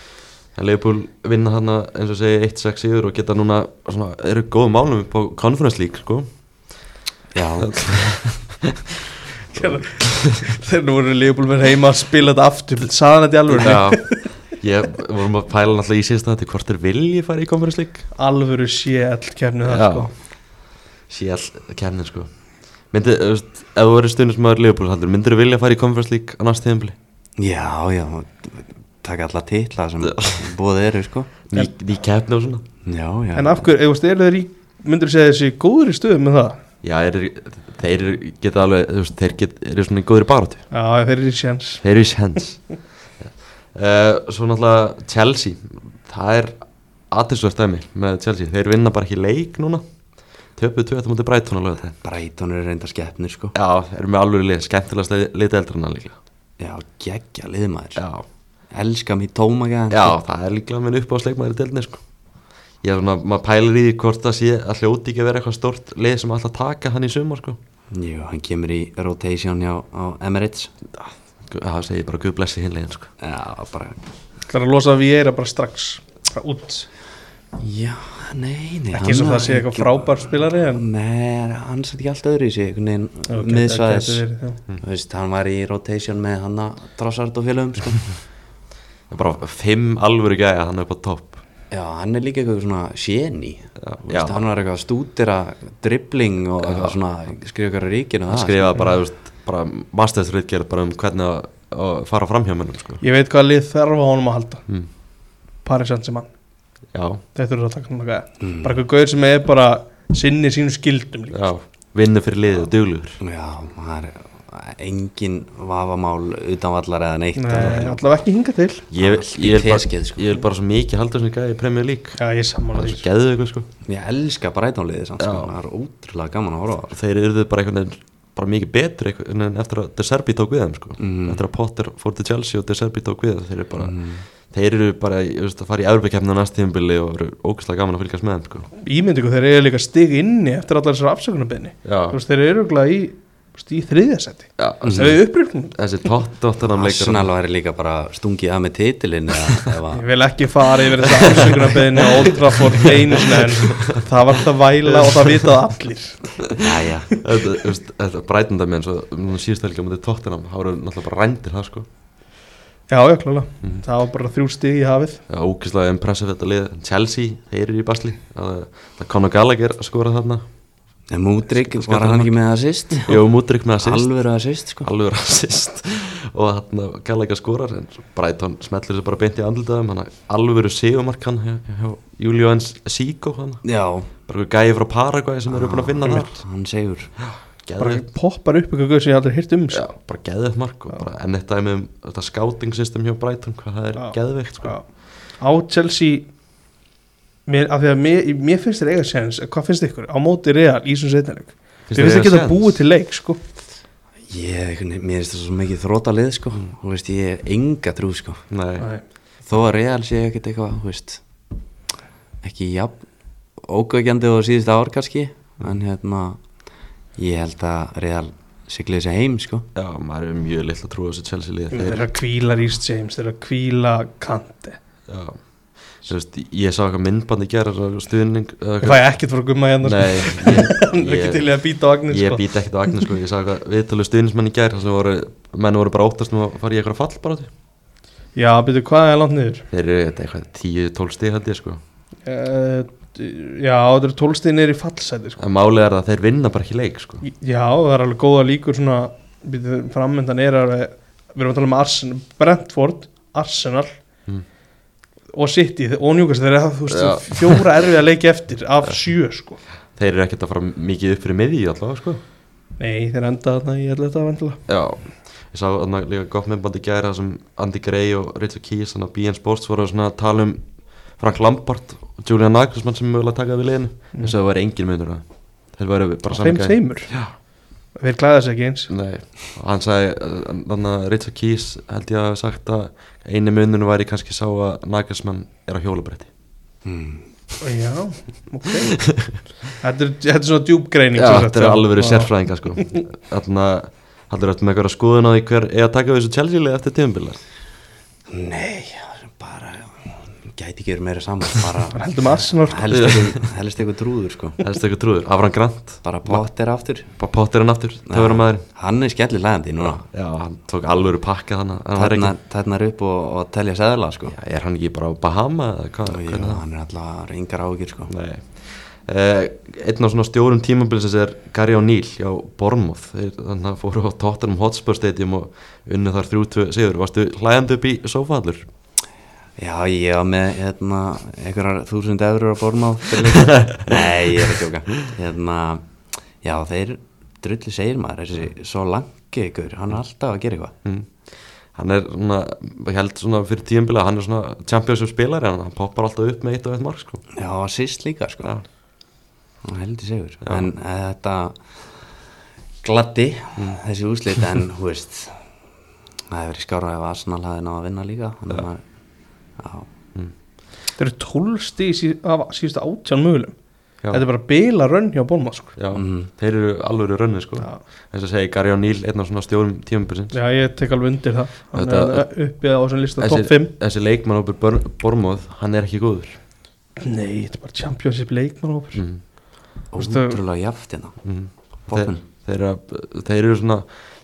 Speaker 1: En Leopold vinna hana eins og segja 1-6 yfir og geta núna svona, eru góðum málum upp á Conference League sko.
Speaker 3: Já,
Speaker 2: [LAUGHS] Þegar nú voru lífbúl verið heima að spila þetta aftur Saðan þetta í alveg
Speaker 1: Já, Ég vorum að pæla náttúrulega í síðast að þetta hvort er vilji fara í Conference League
Speaker 2: alvöru séll kemni það
Speaker 1: Já.
Speaker 2: sko
Speaker 1: Sjálf kemnin sko Myndi, þú veist, ef þú verður stundismæður Leopold haldur, myndir þú vilja fara í Conference League á næst tíðanbili?
Speaker 3: Já, já, taka alla titla sem búið eru, sko
Speaker 1: Ný, ný kemni og svona
Speaker 3: Já, já
Speaker 2: en af hverju, eða veist, eru þeir í myndur segja þessi góður í stöðum með það
Speaker 1: Já, er, þeir eru- geta alveg, þú veist, þeir get, eru svona í góðri baráttu
Speaker 2: já, þeir eru í séns
Speaker 1: Þeir eru í [LAUGHS] sens uh, Svo náttúrulega Chelsea Það er aðtilsvörst dæmi með Chelsea Þeir vinna bara ekki leik núna Töpuð tvö eftir mútið Brighton að löga þeim
Speaker 3: Brighton eru reynda skeppnir, sko
Speaker 1: Já, þeir eru með alveg lið, skemmtilegast lið eldra en hann líklega
Speaker 3: Já, geggja liðmaður
Speaker 1: Já,
Speaker 3: Elska mér tómaga
Speaker 1: já það er líklega minn upp á sleikmaður í deildinni sko Ég er svona, maður pælir í því hvort það sé að hljóti ekki að vera eitthvað stort lið sem alltaf taka hann í sumar sko
Speaker 3: Jú, hann kemur í rotation hjá á Emirates
Speaker 1: Gu- Það segir bara guð blessi hinlegin sko
Speaker 3: Já, bara
Speaker 2: Það er að losa við eira bara strax bara út,
Speaker 3: Já, nei, nei
Speaker 2: ekki eins og það sé eitthvað frábær spilari en
Speaker 3: Nei, hann satt ekki allt öðru í sig einhvern veginn
Speaker 2: Ok,
Speaker 3: okay, miðsvæðis
Speaker 2: það gæti verið, já.
Speaker 1: Mm.
Speaker 3: Þú veist, hann var í rotation með hann að Trossard og félögum
Speaker 1: [LAUGHS]
Speaker 3: sko.
Speaker 1: Það er bara fimm alvöru gæja hann upp á topp
Speaker 3: Já, hann er líka eitthvað svona séni
Speaker 1: já.
Speaker 3: Hann var eitthvað að stúdera dribbling og eitthvað svona skrifa eitthvað ríkinu og
Speaker 1: Hann
Speaker 3: það,
Speaker 1: skrifaði bara, þú veist, bara masterstritgerð bara um hvernig að, að fara fram hjá mönnum sko
Speaker 2: ég veit hvað lið þarf á honum að halda
Speaker 1: Mm.
Speaker 2: Paris Saint-Germain,
Speaker 1: Já,
Speaker 2: þetta eru það takk mm. bara eitthvað gauður sem er bara sinni sínum skildum líka
Speaker 1: já, vinnu fyrir liðið, duglugur
Speaker 3: sko. Já, hann er engin vafamál utanvallar eða neitt
Speaker 2: Nei, allavega ekki hinga til
Speaker 1: Ég,
Speaker 3: Allt í
Speaker 1: ég, vil bara,
Speaker 3: teskeið, sko.
Speaker 1: ég vil bara svo mikið halda þessum gæja í Premier League
Speaker 2: já, ég
Speaker 1: Það
Speaker 2: sammála
Speaker 1: er
Speaker 2: því
Speaker 1: svo geðu ykkur sko
Speaker 3: Ég elska Brightonliðið samt, sko. það er ótrúlega gaman að horfa á
Speaker 1: og þeir eruðu bara einhvern veginn bara mikið betri einhvern veginn eftir að De Serbi tók við þeim sko. eftir að Potter fór til Chelsea og De Serbi tók við þeir eru bara, þeir eru bara ég veist, að fara í Evropakefni á næst tíðumbili og eru ógæslega gaman að fylgjast með þeim sko.
Speaker 2: ímyndingu þeir eru líka stig inni eftir allar þessar afsökunarbeini
Speaker 1: Já.
Speaker 2: þú veist þeir eru örugglega í, þú veist, í þriðjasetti
Speaker 1: Já,
Speaker 2: þau eru upprýfnum
Speaker 1: þessi tóttunum leikar
Speaker 3: Arsenal væri líka bara stungið að með titilinn eða,
Speaker 2: [LAUGHS]
Speaker 3: eða
Speaker 2: ég vil ekki fara yfir þetta afsökunarbeini á Old Trafford einu sinni en það var það væla og það vitað allir
Speaker 3: Jæja,
Speaker 1: þetta, þú veist, þetta breytunda með eins og núna síðustu helgi á mútið tóttunum þá eru náttúrulega bara rændir það sko.
Speaker 2: já, já, klálega, það var bara þrjú stig í hafið
Speaker 1: það er ógæslega impressið þetta lið Chelsea, þeir eru í basli það er Conor Gallagher að skora þarna
Speaker 3: en Múdrygg var hann ekki með assist
Speaker 1: [LAUGHS] Jó Mútrik með assist
Speaker 3: Alvöru assist sko
Speaker 1: alveg rasist og þarna Gallagher skorar en svo Brighton smetlur þessu bara beint í andlitaðum hann alveg sigumark hann hjá, hjá Julians Sigo hann
Speaker 3: Já,
Speaker 1: bara einhver gæði frá Paraguay sem eru búin að finna hann mér
Speaker 3: hann segur
Speaker 2: Ah, bara
Speaker 1: Geðveikt-
Speaker 2: poppar upp eitthvað sem ég aldrei hýrt um sko.
Speaker 1: já, bara geðveikt mark og bara enn eitt dæmi um þetta scouting system hjá Brighton hvað það er
Speaker 2: Já.
Speaker 1: geðveikt sko
Speaker 2: Já. á Chelsea mér, af því að mér, mér finnst þér eiga séns hvað finnst ykkur á móti real í svona setnileik
Speaker 1: Finnst
Speaker 2: Mér
Speaker 1: þér
Speaker 2: finnst
Speaker 1: eiga
Speaker 2: ekki að
Speaker 1: séns?
Speaker 2: búið til leik sko.
Speaker 3: Ég, einhvern veginn- mér finnst það svo mikið þrótalið sko Þú veist, ég er enga trú sko
Speaker 1: nei,
Speaker 2: Nei.
Speaker 3: Þó að Real sé ekkert eitthvað, þú veist Ekki jafn Ógöggjandi og síðust ár kannski En hérna Ég held að Real sigli þessi heim sko
Speaker 1: já, maður er mjög lill að trúa þessu Chelsea lið
Speaker 2: Þeir
Speaker 1: þeir,
Speaker 2: eru að kvíla Rhys James, þeir eru að kvíla Kante.
Speaker 1: já Þú veist, ég sá eitthvað myndbandi gera stuðning eða
Speaker 2: Ég fæ ekkert frá gumma hérna, sko.
Speaker 1: Nei,
Speaker 2: Hann er
Speaker 1: ég,
Speaker 2: [LAUGHS] ekki til
Speaker 1: ég,
Speaker 2: í að býta á Agnes,
Speaker 1: Ég
Speaker 2: sko.
Speaker 1: býti ekkert á Agnes sko, ég sagði hvað viðtölu stuðnismenn í gær þar sem voru, menn voru bara óttast nú að fara í eitthvað fall bara því
Speaker 2: Já, byrju, hvað er langt niður?
Speaker 1: Þeir eru þetta eitthvað 10-12 stig held ég sko
Speaker 2: Uh, já, þetta eru tólstíðin er í fallseti, sko.
Speaker 1: En málið er það að þeir vinna bara ekki leik sko
Speaker 2: Já, það er alveg góða líkur svona, byrju, framöndan er að við erum að tala um Arsenal, Brentford, Arsenal
Speaker 1: Mm.
Speaker 2: og City og Newcastle, þeir eru að, þú veist,
Speaker 1: Já.
Speaker 2: fjóra erfið að leiki eftir af sjö, sko.
Speaker 1: Þeir eru ekkert að fara mikið upp fyrir miðji allavega sko
Speaker 2: Nei, þeir enda þarna í alltaf þetta vendilega.
Speaker 1: Já Ég sá þarna líka gott myndbandi í gær þar sem Andy Gray og Richard Keys þannig að BN Sports voru svona að tala um Frank Lampard og Julian Nagelsmann sem mögulega takaði við liðinu eins og það væri engin munur á þeim. Þeir væru bara
Speaker 2: Mm. Þeim
Speaker 1: gæjar.
Speaker 2: tveimur.
Speaker 1: Já
Speaker 2: Þeir klæða sig ekki eins.
Speaker 1: Nei, og hann sagði þannig að Richard Keys held ég að hafa sagt að eini mununum væri kannski sá að Nagelsmann er á hjólabrætti
Speaker 3: hmm.
Speaker 2: Já, ok Þetta er, þetta er svona djúbgreining sem sagt,
Speaker 1: þetta er alveg verið
Speaker 2: Já.
Speaker 1: sérfræðinga sko þannig að haldur þetta með eitthvað skoðun á því hver er að taka við þessu Chelsea-lið eftir tíðumbilið
Speaker 3: Nei, bara gæti ekki verið meira [LAUGHS] saman bara
Speaker 2: heldum Arsenal sko.
Speaker 3: helst eitthvað, helst eitthvað drúður sko
Speaker 1: helst eitthvað trúður, Afran Grant
Speaker 3: bara Potter aftur
Speaker 1: bara pottir hann aftur, það verður maðurinn
Speaker 3: hann er skemmtileg lagandi núna
Speaker 1: já, hann tók alvöru pakka þannig að hann er
Speaker 3: þarna
Speaker 1: ekki
Speaker 3: þarna er upp og, og telja seðla sko
Speaker 1: já, er hann ekki bara á Bahama eða hvað,
Speaker 3: Jú,
Speaker 1: hvernig
Speaker 3: hann er alltaf reyngar ágjur sko
Speaker 1: það nei Uh, einn af svona stjórum tímabilsins er Gary O'Neill hjá Bournemouth þeir þannig að fóru á Tottenham Hotspur Stadium og unnu þar 3-2 sigur varstu hlæðandi upp í sófallur
Speaker 3: já ég var með hérna einhverjar þúsund eurur á borma
Speaker 1: [LAUGHS]
Speaker 3: nei ég er að tjóka hérna já þeir drullu segir maður þessi svo langi ykkur hann er alltaf að gera eitthvað
Speaker 1: mm. hann er svona ég held svona fyrir tímabila hann er svona championship spilari hann, hann poppar alltaf upp með eitt og eitt mark sko.
Speaker 3: já sýst líka sko
Speaker 1: Já.
Speaker 3: hann heldur segur en eh, þetta gladdi
Speaker 1: Mm.
Speaker 3: þessi úslit
Speaker 1: [LAUGHS]
Speaker 3: en hú veist það hefur verið skára ef Arsenal hafði náða að vinna líka þannig að já,
Speaker 2: þeir eru 12 stíð sí, af síðustu átján mögulegum
Speaker 1: Já.
Speaker 2: þetta er bara bila rönn hjá Bólmað sko.
Speaker 1: Já, þeir eru alvöru rönni sko.
Speaker 2: Já.
Speaker 1: eins og segi Gary O'Neill einn af svona stjórum tímabilsins
Speaker 2: já ég tek alveg undir það hann
Speaker 1: Þetta-
Speaker 2: er uppið á þessum lista top 5
Speaker 1: þessi leikmann opur Bormóð hann er ekki góður
Speaker 2: nei þetta er bara championship leikmann mm. Veistu-
Speaker 3: ótrúlega jaft hérna
Speaker 1: mm. þeir,
Speaker 3: Poppin.
Speaker 1: þeir, eru að- þeir eru svona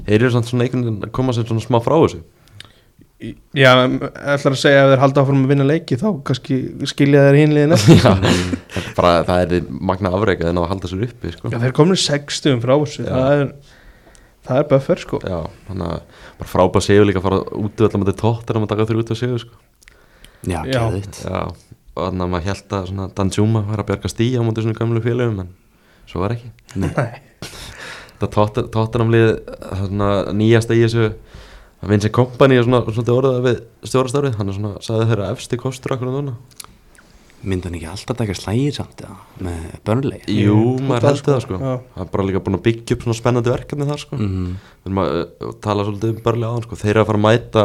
Speaker 1: þeir eru samt svona einhvern veginn að koma sér svona smá frá þessu
Speaker 2: já ætlar að segja ef þeir halda áfram að vinna leiki þá kannski skilja þeir
Speaker 1: [LAUGHS]
Speaker 2: hinliðin eftir
Speaker 1: Já, þetta er bara, það er þið magna afreika en á að halda sér uppi sko.
Speaker 2: já þeir komnir 60 frá þessu
Speaker 1: Já.
Speaker 2: það er það er buffer sko
Speaker 1: Já, þannig að bara frábæð séu líka að fara út í öllum að þetta er tóttir að maður taka þurr út að séu sko.
Speaker 3: já,
Speaker 2: Já.
Speaker 3: geðvitt
Speaker 1: Já, og þannig að maður held að svona Danjuma var að bjarga stíja á móti svona gamlu félögum en svo var ekki
Speaker 2: Nei.
Speaker 1: Þetta tóttanamlið nýjasta í þessu að Vincent Kompany er svona, svona orðað við stjórastarfið, hann er svona, sagði þeirra efsti kostur akkur núna.
Speaker 3: myndi hann ekki alltaf taka slægir samt eða, með börnlegi
Speaker 1: Jú,
Speaker 2: Jú,
Speaker 1: maður
Speaker 2: það
Speaker 1: heldur
Speaker 2: sko,
Speaker 1: það sko
Speaker 2: já.
Speaker 1: hann er bara líka búin að byggja upp svona spennandi verkefni þar sko,
Speaker 3: mm
Speaker 1: við erum að uh, tala svolítið um börnlega áðan sko, þeir eru að fara að mæta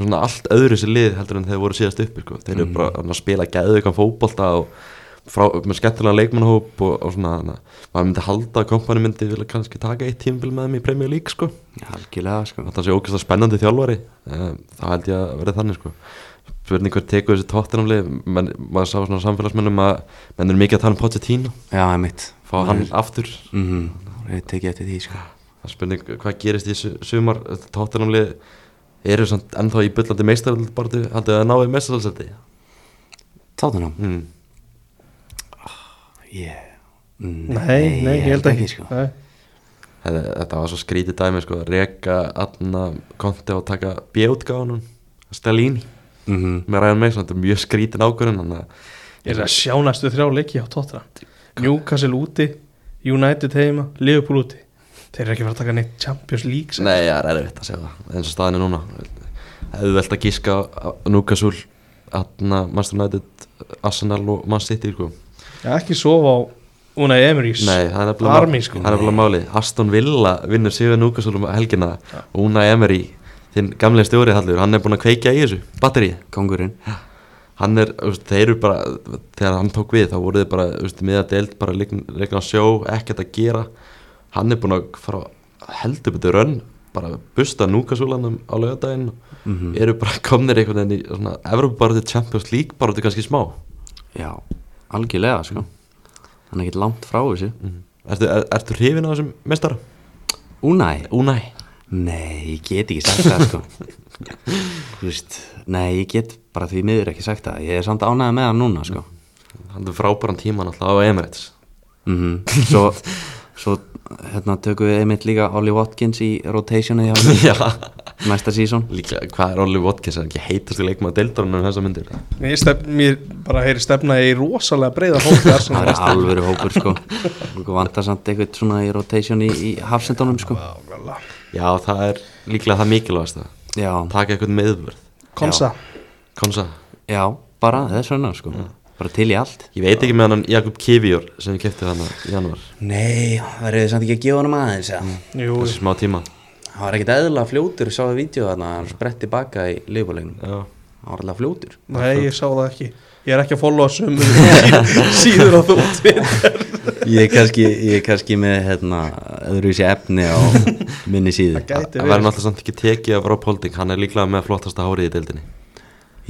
Speaker 1: með svona allt öðru sér lið heldur en þeir voru síðast uppi sko, þeir eru bara þarna, að spila gæðugan fótbolta og frá, með skemmtilega leikmannhóp og, og svona, þannig að maður myndi halda að kompani myndi vilja kannski taka eitt tímbil með þeim í Premier League sko
Speaker 3: algjörlega sko
Speaker 1: Þannig að það sé ógæslega spennandi þjálfari um, Það held ég að verði þannig sko Spurning hver tekur þessi tóttinamli Maður sá svona á samfélagsmennum að Menn eru mikið að tala um Pochettino
Speaker 3: já, mitt
Speaker 1: Fá hann aftur
Speaker 3: mm -hmm. ég tekið eftir því sko
Speaker 1: Það er Spurning hvað gerist í su- sumar Tóttinamli eru samt ennþá í byllandi meistaröldbartu Haldið að náðu meistaröldsæti
Speaker 3: tátunum
Speaker 1: mm.
Speaker 3: yeah.
Speaker 2: nei, nei, ég held ekki
Speaker 3: sko.
Speaker 2: Nei.
Speaker 1: Þetta þetta var svo skrítið dæmi sko Reka, Anna, Konti og taka bjótgáðunum Stalini
Speaker 3: mm
Speaker 1: með Ryan Mason Þetta er mjög skrítin ákvörðin Þannig að
Speaker 2: Ég er að sjá næstu þrjá leiki á Tottenham Newcastle úti, United heima, Liverpool úti Þeir eru ekki verið að taka neitt Champions League sem-
Speaker 1: Nei, það er erfitt að segja það eins og staðin er núna auðvelt að gíska Núkasúl Atna, Master United, Arsenal og Man City sko.
Speaker 2: Já, Ekki sofa á Unai Emerys
Speaker 1: Nei, það er nefnilega
Speaker 2: Army, sko.
Speaker 1: það er nefnilega máli Aston Villa vinnur Sigur Núkasúl um helgina og Una Emery, þinn gamlega stjóri hallur, hann er búin að kveikja í þessu batterið
Speaker 3: kongurinn
Speaker 1: hann er, þú veist, þeir eru bara þegar hann tók við þá voru þeir bara þú veist, miða deild, bara leikna á sjó ekkert að gera, hann er búin að fara heldur betur rönn bara busta núkasúlanum á laugardaginn eru bara komnir einhvern veginn í svona Evropabarðu Champions League bara þetta kannski smá
Speaker 3: já, algjörlega sko hann er ekkert langt frá þessu
Speaker 1: Ertu, er, ertu hrifin á þessum mestara?
Speaker 3: Unai,
Speaker 1: Únæ
Speaker 3: nei, ég get ekki sagt [LAUGHS] það sko þú veist nei, ég get bara því miður ekki sagt það ég er samt ánægð með hann núna sko
Speaker 1: hann er frábæran tíma náttúrulega á Emirates [LAUGHS]
Speaker 3: mm [LAUGHS] svo, svo hérna tökum við einmitt líka Ollie Watkins í rotationi hjá
Speaker 1: [LAUGHS]
Speaker 3: honum
Speaker 1: Já,
Speaker 3: næsta sísón
Speaker 1: líklega, hvað er Olli Watkins er hann ekki heitast í leikmaða deildarinn um þessa myndir
Speaker 2: Ég stef, mér bara heyri stefna í rosalega breiða
Speaker 1: [LAUGHS]
Speaker 2: hópi
Speaker 3: það
Speaker 2: Arsenal
Speaker 3: er alvöru hópur sko og vantar samt eitthvað svona í rotation í, í hafsendunum sko
Speaker 2: Nákvæmlega.
Speaker 1: Já, það er líklega það mikilvægast að
Speaker 3: já,
Speaker 1: taka eitthvað meðvörð
Speaker 2: Konsa
Speaker 1: Konsa
Speaker 3: já, bara þess vegna sko bara til í allt
Speaker 1: Ég veit ekki með hann Jakob Kivjór sem við keftum hann í januar
Speaker 3: nei, það er samt ekki að gefa hann aðeins ja.
Speaker 2: Jú,
Speaker 1: þessi smá tíma
Speaker 3: það var ekkit eðla fljótur sáðu vídeo þarna, hann sprett tilbaka í liðbúleginum,
Speaker 1: Já,
Speaker 3: það var alltaf fljótur
Speaker 2: nei ég sá það ekki Ég er ekki að followa
Speaker 1: [LAUGHS]
Speaker 2: sömu síður á þú
Speaker 3: ég er kannski, ég er kannski með hérna, öðruvísi efni [LAUGHS] á minni síðu
Speaker 2: Gæti
Speaker 1: það
Speaker 2: verið.
Speaker 1: verður náttúrulega samt ekki tekið af Rob Holding hann er líklega með flottasta hárið í deildinni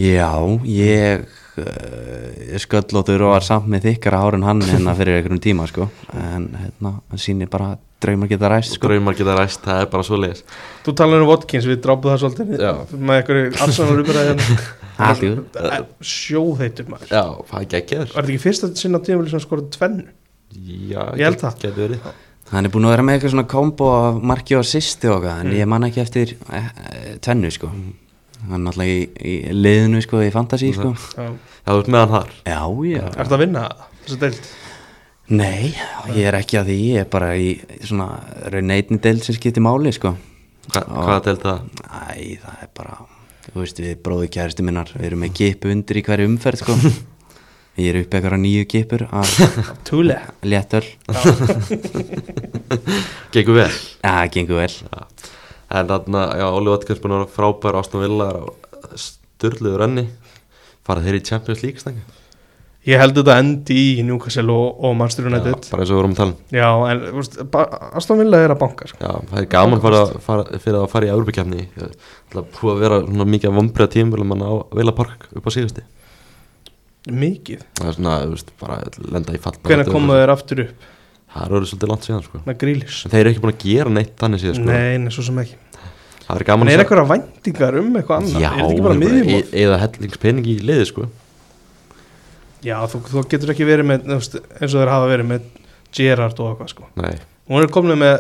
Speaker 3: já, ég uh, sköllóttur og var samt með þykkara hár en hann hérna fyrir einhverjum tíma sko en hérna, hann sýnir bara að draumar geta ræst sko
Speaker 1: draumar geta ræst, það er bara svo leiðis
Speaker 2: Þú talar um Watkins, við drápum það svolítið
Speaker 1: Já.
Speaker 2: með einhverju Arsenal umræði
Speaker 1: [LAUGHS]
Speaker 3: Allt í góðu.
Speaker 2: hérna Sjóðheitur maður
Speaker 1: já, það geggjaður
Speaker 2: Var þetta ekki fyrsta sinna tímafélis sem skoraði tvennu?
Speaker 1: já,
Speaker 2: Ég held það.
Speaker 1: getur verið
Speaker 3: hann er búin að vera með eitthvað svona kombo af marki og assisti og eitthvað en ég man ekki eftir eh, eh, tvennu sko hann er náttúrulega í, í liðinu sko í fantasy sko
Speaker 2: Já.
Speaker 1: já, þú ert með hann þar
Speaker 3: já já
Speaker 2: Er þetta að vinna þessu deild?
Speaker 3: nei ég er ekki að því ég er bara í svona raunneitni del sem skiptir máli sko
Speaker 1: Hva, hvað delt það?
Speaker 3: Æ, það er bara, þú veist, við bróðu kæristu minnar, við erum með gipu undir í hverju umferð,
Speaker 1: [LAUGHS]
Speaker 3: sko. Ég er uppi eitthvað nýju gipur að
Speaker 2: Tule
Speaker 3: léttöl.
Speaker 1: Gengur vel
Speaker 3: Það gengur vel.
Speaker 1: Já. En þarna, já, Óli Vatkins búin að vera frábær Ástan Villar á styrluður enni fara þeir í Champions League stanga
Speaker 2: Ég held þetta endi í Newcastle og, og Manchester United Já,
Speaker 1: bara eins og við vorum að tala um.
Speaker 2: en þú veist, ba- Aston Villa er að banka sko.
Speaker 1: Já, það er gaman bara að fara, fyrir að fara í Európa-kefni Það er búið að vera svona mikið vombriða tímvel mann á Vila Park upp á síðusti
Speaker 2: Mikið
Speaker 1: Það er svona, þú veist, bara lenda í fall
Speaker 2: Hvenær komu þeir aftur upp?
Speaker 1: Það er orðið svolítið langt síðan, sko
Speaker 2: Með grílis
Speaker 1: En þeir eru ekki búin að gera neitt þannig síðan, sko
Speaker 2: Nei, nei, svo sem ekki
Speaker 1: Það er gaman
Speaker 2: En er eitthvað væntingar um eitthvað annað?
Speaker 1: Já,
Speaker 2: Er þetta ekki bara miðjumót?
Speaker 1: e- eða hellingspening í liði, sko
Speaker 2: Já, þú, þú getur ekki verið með þú veist, eins og þeir hafa verið með Gerrard og eitthvað sko
Speaker 1: Nei,
Speaker 2: Hún er komin með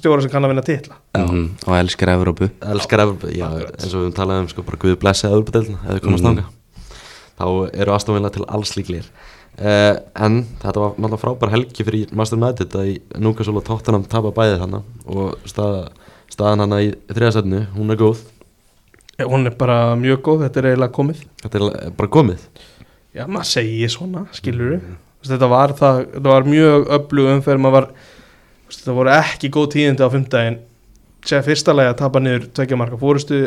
Speaker 2: stjóra sem kann að vinna titla
Speaker 3: Mhm, Og elskar Evrópu.
Speaker 1: elskar Európa Já, eins og við höfum talað um, sko, bara Guði blessa Európa-delna Eða komast
Speaker 3: Mhm.
Speaker 1: þanga Þá eru aðstofnvila til alls líklegir uh, En þetta var náttúrulega frábær helgi fyrir Master United að í Núkasól og Tottenham tapa bæðið hana og stað, staðan hana í þriðasætnu, hún er góð
Speaker 2: Já, Hún er bara mjög góð, þetta er eiginlega komið
Speaker 1: Þetta er bara komið
Speaker 2: Já, maður segi svona, skilur við Þetta var það, þetta var mjög öflug umferð maður var, þú veist, þetta voru ekki góð tíðindi á fimmdægin Sér fyrsta lagi að tapa niður tvekja marka fórustu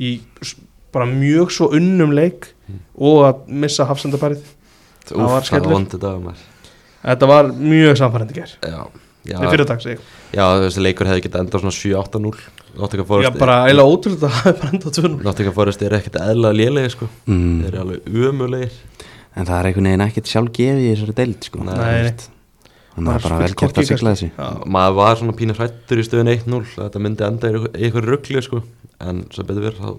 Speaker 2: í s- bara mjög svo unnum leik
Speaker 1: Hmm.
Speaker 2: og að missa hafsendaparið Það var
Speaker 1: Úf, það
Speaker 2: skellur.
Speaker 1: var vondið dagar
Speaker 2: Þetta var mjög samfærandi ger
Speaker 1: Já, já,
Speaker 2: Við fyrir dags, ég
Speaker 1: já þessi leikur hefði getað endað svona 7-8-0 Nottingham
Speaker 2: Já,
Speaker 1: Forest
Speaker 2: bara eiginlega ótrúlega að [LAUGHS] hafa bara enda tvunum
Speaker 1: Nottingham Forest er ekkert eðla lélega sko Þeir
Speaker 3: Mm.
Speaker 1: eru alveg umulegir
Speaker 3: En það er einhvern veginn ekkert sjálf gefið í þessari deild, sko.
Speaker 1: Nei.
Speaker 3: Þú veist. Þannig að það er bara vel gert að sigla þessi.
Speaker 2: Já,
Speaker 1: Maður var svona pínu hrættur í stöðun 1-0 að Þetta myndi enda í einhver- í einhverju ruggli sko En sem betur verið þá,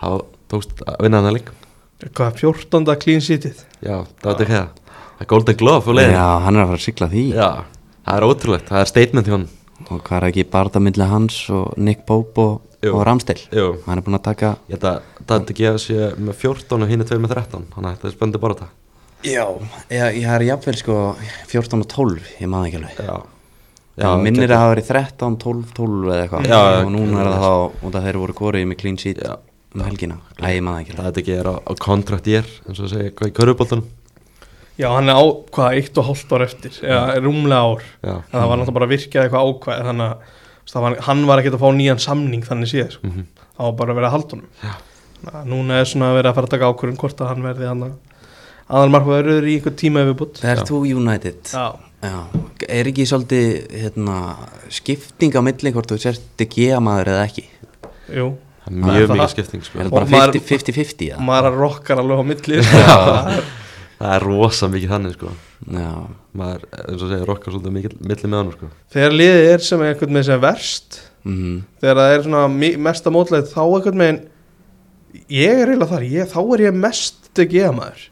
Speaker 1: þá tókst að vinna hana leik
Speaker 2: hvað, 14. clean sheetið
Speaker 1: Já, það var ekki það Það er Golden Glove og leiðin
Speaker 3: Já, hann er að fara að sigla því.
Speaker 1: já, það er ótrúlegt, það er statement hjá hann
Speaker 3: Og hvað er ekki barða milli hans og Nick Pope og,
Speaker 1: Jú.
Speaker 3: og Ramstel.
Speaker 1: Jú,
Speaker 3: Hann er búin að taka
Speaker 1: ég held að Dante Gea sé með 14 og hinn er 2 með 13 Þannig að þetta er spöndið bara þetta
Speaker 3: Já, ég, ég er jafnvel sko 14 og 12, ég maður ekki alveg
Speaker 1: Já,
Speaker 3: Já, minnir að það hafa verið 13, 12, 12 eða eitthvað
Speaker 1: Já, já,
Speaker 3: og núna er það þá, út af þeir voru korið með clean sheet
Speaker 1: Já.
Speaker 3: um helgina Æ, ég maður ekki
Speaker 1: Það
Speaker 3: alveg
Speaker 1: þetta ekki er á, á kontrakt ég er, eins og það segja, hvað í körfuboltanum
Speaker 2: Já, hann er á, hvað, eitt og hálft ár eftir Já, rúmlega ár
Speaker 1: Já,
Speaker 2: en það var náttúrulega bara að virkja eitthvað ákvæð þannig að þú veist, það var, hann var ekkert að fá nýjan samning þannig séð, sko.
Speaker 1: Mhm.
Speaker 2: það var bara að vera að halda honum
Speaker 1: Já.
Speaker 2: Þannig að núna er svona að vera að fara að taka ákvörðum hvort að hann verði hann aðalmarkvæður í einhver tíma yfirbútt
Speaker 3: Það er þú United
Speaker 2: Já,
Speaker 3: Já, er ekki svolítið hérna, skipting á milli hvort þú sért DG maður eða ekki
Speaker 2: jú
Speaker 1: það er mjög
Speaker 2: það-
Speaker 1: mikið skipting sko.
Speaker 3: Er það
Speaker 2: Og
Speaker 3: bara
Speaker 2: maður-
Speaker 3: 50 50-50
Speaker 2: og
Speaker 3: eða?
Speaker 2: maður rokkar alveg á
Speaker 1: [LAUGHS]
Speaker 2: milli sko. Það er-
Speaker 1: Það er rosa mikið þannig sko.
Speaker 3: Já,
Speaker 1: Maður, eins og segja, rokkar svolítið mikið milli með hann sko.
Speaker 2: þegar liðið er sem einhvern veginn sem verst
Speaker 3: mhm
Speaker 2: þegar það er svona mi- mesta mótleið þá einhvern veginn ég er eiginlega þar, ég, þá er ég mest DG maður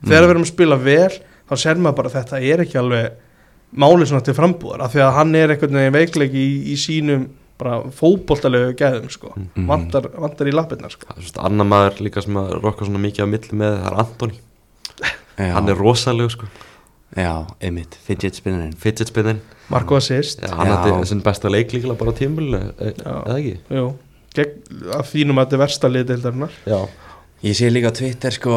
Speaker 2: þegar við erum að spila vel þá ser maður bara að þetta er ekki alveg málið svona til frambúðar af því að hann er einhvern veginn veikleik í, í sínum bara fótboltalegu gæðum sko.
Speaker 3: mhm.
Speaker 2: vantar, vantar í lappirnar sko.
Speaker 1: Það er svona annar maður líka sem að rokkar svona mikið á milli með Það er Antoni,
Speaker 3: Já,
Speaker 1: hann er rosaleg sko.
Speaker 3: já, einmitt, fidget spinnerinn
Speaker 1: Fidget spinnin,
Speaker 2: Marko assist
Speaker 1: Já, hann
Speaker 3: Já.
Speaker 1: hætti sinn besta leik líklega bara á tímul Eða ekki?
Speaker 2: Jú, gegn, að þínum að þetta er versta liðið deildarinnar
Speaker 1: Já,
Speaker 3: Ég sé líka á Twitter sko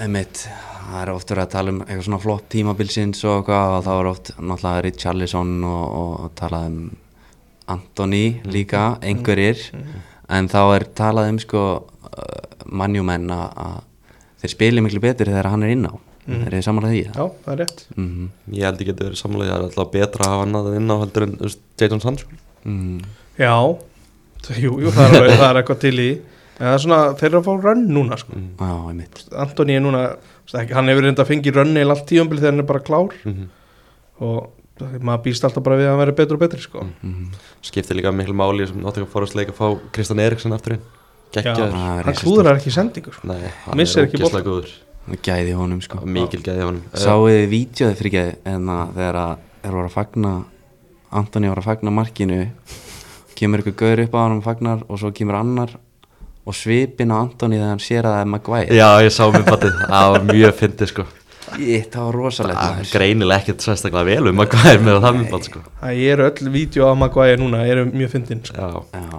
Speaker 3: einmitt, það er oft verið að tala um eitthvað svona flott tímabilsins og eitthvað og þá er oft náttúrulega Richarlison og, og talað um Anthony líka, einhverjir en þá er talað um sko uh, mannjúmenn að að þeir spili miklu betur þegar hann er inn á mm. er þið samanlega því?
Speaker 2: Já, það er rétt
Speaker 3: Mm -hmm.
Speaker 1: ég held ég geti verið samlega Það er alltaf betra að hafa hann að inn á heldur en þú veist, Jadon Sancho
Speaker 3: Mm.
Speaker 2: Já, jú, jú það, er, alveg- það er eitthvað til í það er svona, þeir eru að fá rönn núna sko.
Speaker 1: Mm.
Speaker 3: já, einmitt
Speaker 2: Antoni er núna, þú veist, ekki- hann hefur reynda að fengi rönn eða allt tíumbil þegar hann er bara klár
Speaker 1: Mhm.
Speaker 2: og maður býst alltaf bara við að hann verði betur og betri sko.
Speaker 1: Mm,
Speaker 3: Mhm.
Speaker 1: skiptir líka miklu máli sem náttúrulega forastleik að fá Kristján Eriksson aftur inn geggjaður
Speaker 3: Já.
Speaker 2: hann klúðrar ekki sko. sendingur
Speaker 1: Nei, hann
Speaker 2: Missir
Speaker 1: er
Speaker 2: ekki
Speaker 1: ógeðslega góður
Speaker 3: gæði honum sko
Speaker 1: mikil gæði af honum
Speaker 3: Sáuð þið vídjóði fyrir ekki en að þegar að þeir voru að fagna Antoni voru að fagna markinu kemur ykkur gaur upp á hann og fagnar og svo kemur annar og svipin á Antoni þegar hann sér að það er Maguire
Speaker 1: Já, ég sá mér [LAUGHS] fatið, það var mjög fyndið sko
Speaker 3: Ég, það var rosalegt
Speaker 1: Það
Speaker 3: maður.
Speaker 1: greinilega ekkert sérstaklega vel um að hvað er með það mjög bátt sko
Speaker 2: það eru öll vídeo af Maguire núna eru mjög fyndin sko.
Speaker 1: Já,
Speaker 3: Já,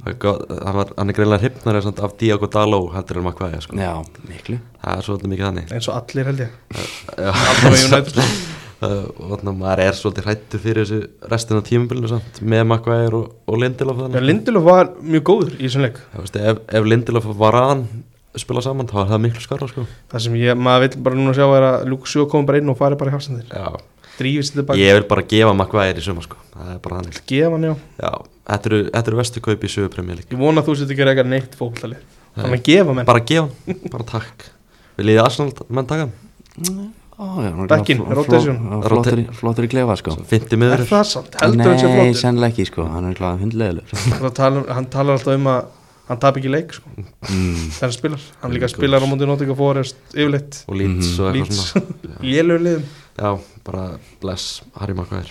Speaker 1: það er gott- hann, var, hann er greinilega hrypnar af Diogo Daló heldur en Makvæja sko
Speaker 3: já, miklu
Speaker 1: Það er svolítið mikið þannig
Speaker 2: eins og allir held ég
Speaker 1: [LAUGHS] Já.
Speaker 2: Allavega United,
Speaker 1: [LAUGHS]
Speaker 2: sko.
Speaker 1: Það- og þannig að maður er svolítið hrættur fyrir þessu restina tímabilinu samt með Makvæja og, og Lindelof
Speaker 2: Já,
Speaker 1: þannig
Speaker 2: Lindelof var mjög góður í þessum leik
Speaker 1: Já, veistu, ef, ef Lindelof var aðan spila saman þá er það miklu skarra sko
Speaker 2: það sem ég, maður vill bara núna sjá er að Luke Sjó kom bara inn og fari bara í hafsendir
Speaker 1: Já,
Speaker 2: drífist þetta bara,
Speaker 1: ég vil bara gefa Makvæja í suma sko Það er bara þannig
Speaker 2: gefa hann já
Speaker 1: Já, þetta eru, þetta eru vestu kaup í sögu premjali
Speaker 2: ég vona að þú setur ekki að reyka neitt fókvöldali
Speaker 1: Nei.
Speaker 2: þannig að gefa menn,
Speaker 1: bara gefa hann, bara takk viljið þið Arsenal menn taka hann
Speaker 3: Ó, já, hann var
Speaker 2: Bekkinn,
Speaker 3: fló- fló-
Speaker 2: rotation.
Speaker 3: fló- Flottur í- flottur í klefa sko
Speaker 1: fyndi
Speaker 2: er
Speaker 1: miður
Speaker 2: það samt, heldur hann sér
Speaker 3: Nei,
Speaker 2: flottur
Speaker 3: sennilega ekki sko, hann er kláðan hundleðilur
Speaker 2: Það tala, hann talar alltaf um að hann tap ekki leik sko,
Speaker 3: mm.
Speaker 2: þegar hann spilar hann líka spilar á móti Nottingham Forest yfirleitt,
Speaker 1: og lít
Speaker 3: Mhm.
Speaker 1: og eitthvað
Speaker 2: Leeds
Speaker 1: svona
Speaker 2: lélög liðum
Speaker 1: já, bara bless, Harry Maguire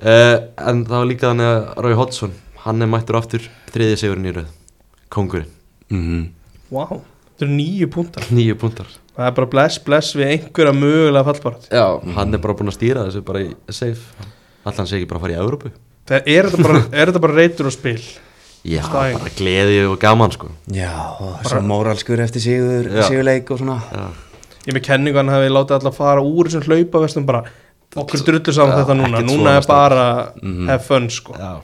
Speaker 1: uh, en það var líka þannig að Rói Hodgson, hann er mættur aftur þriðið sigurinn í röð, [LAUGHS] kongurinn
Speaker 3: Mm.
Speaker 1: Mhm.
Speaker 2: wow. þetta eru nýju púntar
Speaker 1: nýju púntar
Speaker 2: það er bara bless bless við einhverja mögulega fallbarat
Speaker 1: já, hann er bara búin að stýra þessu bara í safe allan sé ekki bara að fara í Európu
Speaker 2: það er þetta bara, er þetta bara reytur og spil
Speaker 1: já,
Speaker 2: Stæl.
Speaker 1: bara gleði og gaman sko
Speaker 3: Já, svo móralskur eftir sigur,
Speaker 1: Já.
Speaker 3: sigurleik og svona
Speaker 1: já,
Speaker 2: ég með kenningu að hann hefði látið alla fara úr þessum hlaupa vestum bara okkur drullu saman
Speaker 1: Já,
Speaker 2: þetta núna,
Speaker 1: ekkert
Speaker 2: núna
Speaker 1: svona
Speaker 2: er
Speaker 1: strax.
Speaker 2: bara have fun sko
Speaker 1: já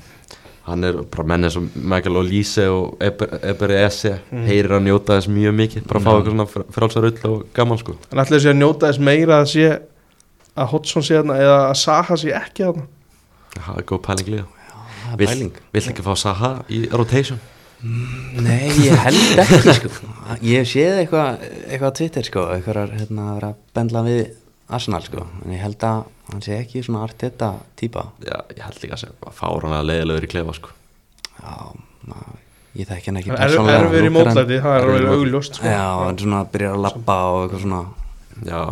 Speaker 1: hann er bara mennið sem Michael Olise og Eberi Esse heyrir að njóta þess mjög mikið bara að fá eitthvað svona frálsarull og gaman sko
Speaker 2: hann ætlaði sér að njóta þess meira að sé að Hodgson sé þarna eða að Saha sé ekki þarna
Speaker 1: það er góð pæling líka
Speaker 3: Það er
Speaker 1: vill, vill ekki fá Saha í rotation
Speaker 3: Nei, ég held ekki sko. Ég hef séð eitthvað eitthvað á Twitter sko, eitthvað hérna, að vera að bendla við Arsenal sko, en ég held að hann sé ekki svona arteta típa
Speaker 1: já, ég held líka að segja fáranlega leiðilegur í klefa sko
Speaker 3: Já, na, ég þekki hann ekki
Speaker 2: er erfur í
Speaker 3: lúkkar hann-
Speaker 2: mótlæti, það er alveg augljóst sko.
Speaker 3: Já, hann svona byrjar að labba og eitthvað svona
Speaker 1: já,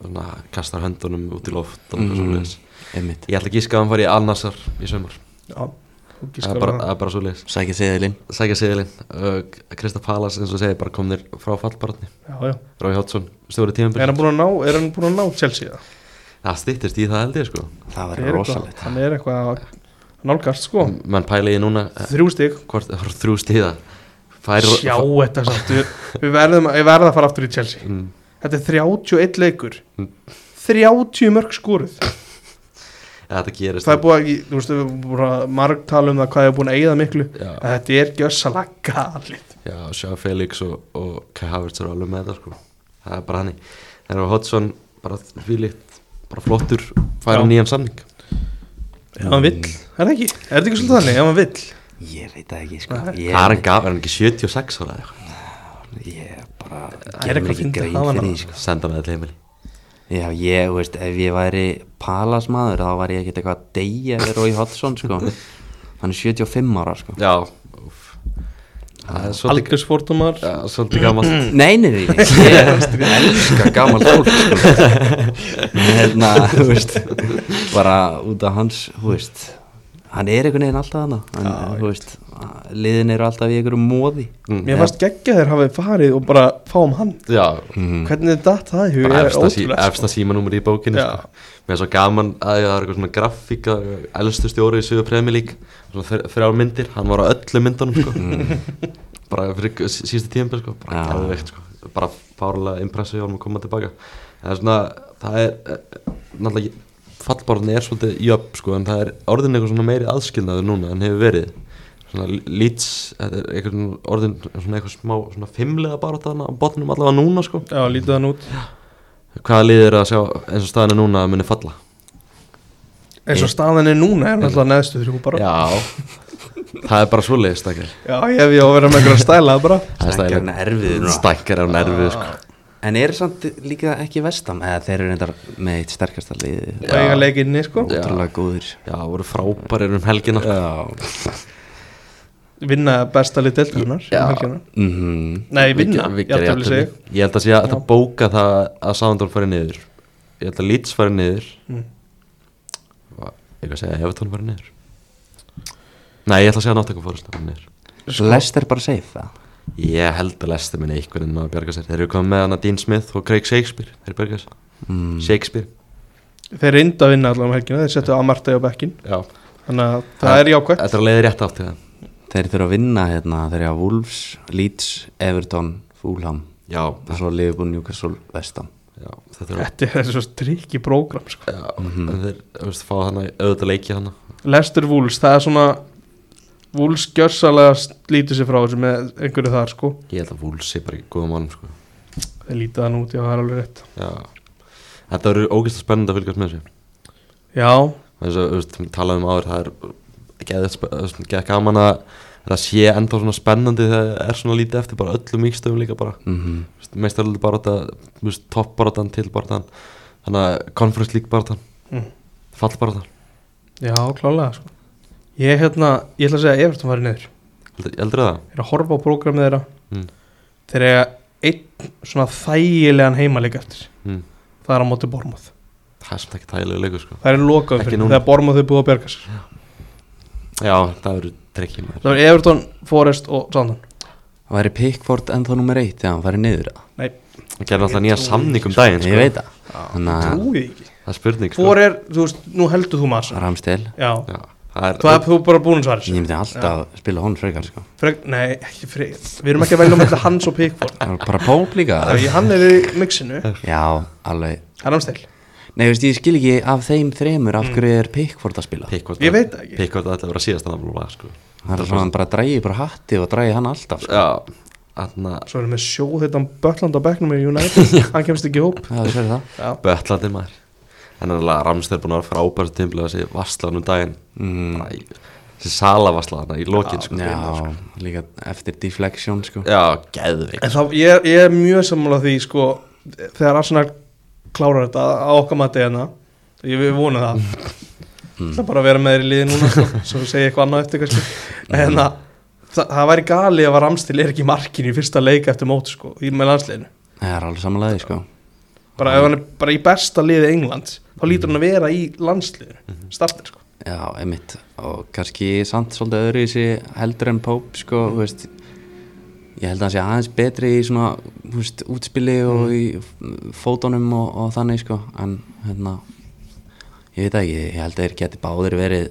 Speaker 1: svona kastar höndunum út í loft og
Speaker 3: Mhm.
Speaker 1: eitthvað mm.
Speaker 3: einmitt,
Speaker 1: ég held ekki að hann fari í Alnasar í sömur
Speaker 2: Já, þú
Speaker 1: það
Speaker 2: gískar
Speaker 1: er bara,
Speaker 2: það.
Speaker 1: það er bara svo leiðis
Speaker 3: sækja seðilinn
Speaker 1: sækja seðilinn, Krista Palas eins og segir bara komnir frá fallbarni
Speaker 2: Já, já.
Speaker 1: Rói Hjótsson, stjóri
Speaker 2: Er
Speaker 1: tímanbyrg
Speaker 2: hann búin að ná, er hann búin að ná Chelsea það?
Speaker 1: það stýttist í það held ég sko
Speaker 3: Það
Speaker 2: Það er
Speaker 3: verður
Speaker 2: eitthvað,
Speaker 3: rosalegt
Speaker 2: hann er eitthvað að nálgast sko
Speaker 1: menn pæli ég núna eh,
Speaker 2: Þrjú stig,
Speaker 1: hvort það voru þrjú stíða fær
Speaker 2: sjá þetta samt Við, við verðum, við verðum að fara aftur í Chelsea
Speaker 1: Mm.
Speaker 2: Þetta er 31 leikur
Speaker 1: Mm.
Speaker 2: 30 mörg skoruð
Speaker 1: Ja, þetta gerist
Speaker 2: Það er búið að, þú veist, við erum búin að marg tala um það hvað er búin að eigða miklu
Speaker 1: Já.
Speaker 2: að Þetta er gjössalega galið
Speaker 1: Já, sjá Felix og, og Kai Havertz eru alveg með þetta sko Það er bara hann Það eru Hodgson, bara fylíkt bara flottur, færa
Speaker 2: Já.
Speaker 1: nýjan samning
Speaker 2: Ef hann vill, er það ekki? Er þetta ekki svolítið þannig, ef hann vill?
Speaker 3: Ég veit það ekki sko
Speaker 2: Nei.
Speaker 1: Það er
Speaker 3: Ég,
Speaker 1: hann gaf, er hann ekki 76 ára eða eitthvað
Speaker 3: ég bara
Speaker 2: er
Speaker 3: gerum
Speaker 2: eitthvað
Speaker 3: ekki
Speaker 2: fyndið
Speaker 3: grein
Speaker 2: að hafa
Speaker 3: fyrir
Speaker 2: hann
Speaker 3: því sko
Speaker 1: Senda hann eða til heimili
Speaker 3: Já, ég, þú veist, ef ég væri palasmaður, þá væri ég ekkert eitthvað að deyja við Rói Hodgson, sko. Hann er 75 ára, sko.
Speaker 1: Já úff. Það er svolítið,
Speaker 2: Aldursfordumar
Speaker 1: ja, svolítið gaman [CLEARS THROAT]
Speaker 3: Nei, nei, nei, nei, [LAUGHS] ég elska gamal fólk, sko. En Hérna, þú veist, bara út af hans, þú veist, hann er einhvern veginn alltaf hana. En, þú veist, liðin eru alltaf í einhverjum móði.
Speaker 2: Mér fannst geggja þeir hafið farið og bara fáum hann
Speaker 1: Já,
Speaker 2: Hvernig er datt það í hug?
Speaker 1: Mm. bara
Speaker 2: Ég er
Speaker 1: efsta, sí,
Speaker 2: ótrúlegt, sko.
Speaker 1: efsta símanúmer í bókinni
Speaker 2: Já.
Speaker 1: sko. Mér er svo gaman að það er eitthvað svona grafík að elstu stjóri í Suðu Premjölík Svona þr- þrjár myndir, hann var á öllu myndunum sko.
Speaker 2: Mm.
Speaker 1: [LAUGHS] bara fyrir síðustu tíðanbel sko. bara
Speaker 3: Já.
Speaker 1: gerðveikt sko. bara fárlega impressu hjá hann að koma tilbaka það er svona, það er eh, náttúrulega, fallborðin er svolítið jöfn sko, en það er orðin eitthvað svona meiri aðskilnaður núna en hefur verið svona lýts, þetta er eitthvað svona orðin svona eitthvað smá, svona fimmlega bara þarna á botnum allavega núna sko
Speaker 2: Já, lítið hann út
Speaker 1: hvaða liðir að sjá eins og staðinu núna að muni falla
Speaker 2: eins og staðan er núna er náttúrulega neðstu þrjú bara
Speaker 1: Mm. já, það er bara svoleiðis stakkar
Speaker 2: Já, ég hef ég á að vera með einhverja stæla
Speaker 1: [LAUGHS]
Speaker 2: bara
Speaker 1: Það er
Speaker 3: Stakkar
Speaker 1: stæðilegt.
Speaker 3: hann erfiður núna.
Speaker 1: stakkar á nervið sko.
Speaker 3: En eru samt líka ekki vestam eða þeir eru reyndar með eitt sterkasta liði
Speaker 2: og eiga leikinni sko
Speaker 1: Já.
Speaker 3: Ótrúlega góðir
Speaker 1: já, voru frábærir um helgina
Speaker 3: Já
Speaker 2: vinna besta lið deltarinnar um helgina.
Speaker 3: mm
Speaker 2: Nei, vinna,
Speaker 1: Við- við
Speaker 2: ég ætti að
Speaker 1: gerðum
Speaker 2: vilja segja
Speaker 1: jafntefli. ég held að sé að það bóka það að Sándorf fari niður ég held að Leeds fari niður
Speaker 2: Mm.
Speaker 1: Va- ég held að segja að Evertón fari niður nei, ég ætla að segja að Nottingham Forest fari niður
Speaker 3: Lester bara segið það
Speaker 1: ég held að lesta minni einhvern veginn að bjarga sér þeir eru komið með hana Dean Smith og Craig Shakespeare þeir bjarga sér,
Speaker 3: mm.
Speaker 1: Shakespeare
Speaker 2: þeir reynda að vinna allavega um helgina þeir settu Amartey á bekkin
Speaker 1: já,
Speaker 2: þannig að það er jákvæmt
Speaker 1: þetta er að leiði rétt átt til það
Speaker 3: Þeir þurfa að vinna hérna Þeir eru að Wolves, Leeds, Everton, Fulham
Speaker 1: já,
Speaker 3: og svo Liverpool, Newcastle, Vestam
Speaker 1: já, þetta er
Speaker 2: þetta er svo strikki prógram sko.
Speaker 1: já, en þeir, þú veist, fá hana auðvitað leiki hana
Speaker 2: Lester Wools, það er svona Wools gjörsalega lítur sér frá þessu með einhverju þar sko
Speaker 1: ég held að Wolves sé bara ekki góða málum sko.
Speaker 2: þeir lítið hann út, já það er alveg rétt
Speaker 1: já, þetta eru ógeðslega spennandi að fylgjast með þessu
Speaker 2: já,
Speaker 1: eins og þú veist, við talaðum um áður það er geðveikt spe- þú veist, geðveikt gaman að það sé enda svona spennandi þegar það er svona lítið eftir bara öllum yngstöfum líka bara
Speaker 3: mm
Speaker 1: meistaröldu bara þetta topp bara þann til bara þann þannig að conference league bara þann
Speaker 2: Mm.
Speaker 1: fall bara þann
Speaker 2: já klálega sko ég, hérna, ég ætla að segja að Everton farið niður
Speaker 1: heldur það?
Speaker 2: ég er að horfa á prógramið þeirra
Speaker 1: Mm.
Speaker 2: þeir eiga einn svona þægilegan heimalik eftir
Speaker 1: Mm.
Speaker 2: það er á móti Bormoth
Speaker 1: það er samt ekki tægilegu leikur sko
Speaker 2: það er lokað
Speaker 1: Ekki
Speaker 2: fyrir
Speaker 1: núna.
Speaker 2: þegar Bormoth er búið að berga sér
Speaker 1: já það eru trekki maður
Speaker 2: það er Everton, Forrest og Sandon
Speaker 3: Það væri Pickford ennþá nummer eitt þegar hann færi niður það.
Speaker 1: það gerði alltaf nýja samning um daginn
Speaker 3: Ég
Speaker 1: sko
Speaker 3: veit það Þannig að
Speaker 2: trúið ekki
Speaker 1: það er spurning sko Ah.
Speaker 2: Hvor er, þú veist, nú heldur þú massa
Speaker 3: Ramstel
Speaker 2: Já,
Speaker 1: já, það er
Speaker 2: þú er þú er bara búin svar
Speaker 3: Ég myndi alltaf spila honum frekar sko
Speaker 2: Frek, Nei, ekki frek Við erum ekki að velja um þetta hans og Pickford
Speaker 3: Það var bara Pope líka
Speaker 1: Ah.
Speaker 2: Það er, hann er í mixinu
Speaker 3: Já, alveg
Speaker 2: Herramstil
Speaker 3: Nei, veist, ég skil ekki af þeim þremur af hverju er Pickford að spila
Speaker 1: Pickford-
Speaker 2: Ég veit það ekki.
Speaker 1: Pickford ætlaði að vera síðast að það var sko
Speaker 3: Það er svona að hann bara drægi bara hatti og drægi hann alltaf sko.
Speaker 1: já þarna
Speaker 2: Svo erum við sjóð þetta Bötland á bekknum í [LAUGHS] United Hann kemst ekki í hóp
Speaker 3: Já, það er það
Speaker 2: Já,
Speaker 1: Bötlandin maður En þannig að Ramsdell búin að vera frábært tímla þessi vasslan um daginn
Speaker 3: Mm.
Speaker 1: Bara í- þessi sala vasslan í lokin sko.
Speaker 3: Já, líka eftir deflection sko
Speaker 1: já geðvik
Speaker 2: en þá, ég, ég er mjög sammála því, sko Þegar Arsenal klárar þetta á okkar mati hérna Ég við vona það Það er bara að vera með þér í liði núna sko, Svo segi ég eitthvað annað eftir kannski En að, það, það væri gali ef að Ramstil er ekki í markinu í fyrsta leik eftir mót sko, í með landsliðinu
Speaker 3: Það er alveg samanlega sko
Speaker 2: bara ef hann er bara í besta liði England þá lítur hann að vera í landsliður startin sko
Speaker 3: Já, emitt og kannski samt svolítið öðru í þessi heldur en Pope sko,
Speaker 2: Mm.
Speaker 3: þú veist ég held að hann sé aðeins betri í svona þú veist, útspili
Speaker 2: Mm.
Speaker 3: og í fótonum og, og þannig sko en hérna ég veit það ekki, ég held að þeir geti báðir verið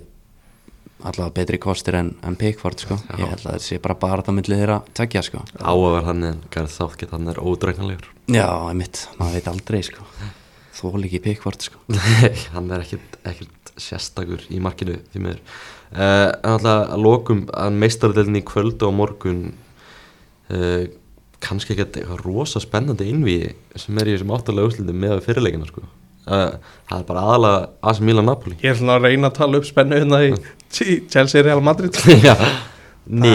Speaker 3: allavega betri kostir en, en Pickford sko, ég held að þeir sé bara bara það milli þeirra tekja sko
Speaker 1: á að vera hann en Garð Sáttgett hann er ódreiknalegur
Speaker 3: Já, emitt, maður veit aldrei sko þól ekki Pickford sko
Speaker 1: hann er ekkert, ekkert sérstakur í markinu því meður uh, en alltaf að lokum að meistardelinni í kvöldu og morgun uh, kannski ekkert eitthvað rosa spennandi innvíi sem er í þessum áttalega úrslitum með fyrirleikina sko. uh, það er bara aðalega AC Milan Napoli
Speaker 2: ég er svona að reyna að tala upp spennu hérna í í Chelsea Real Madrid
Speaker 1: [LAUGHS] Já,
Speaker 2: það,
Speaker 1: ný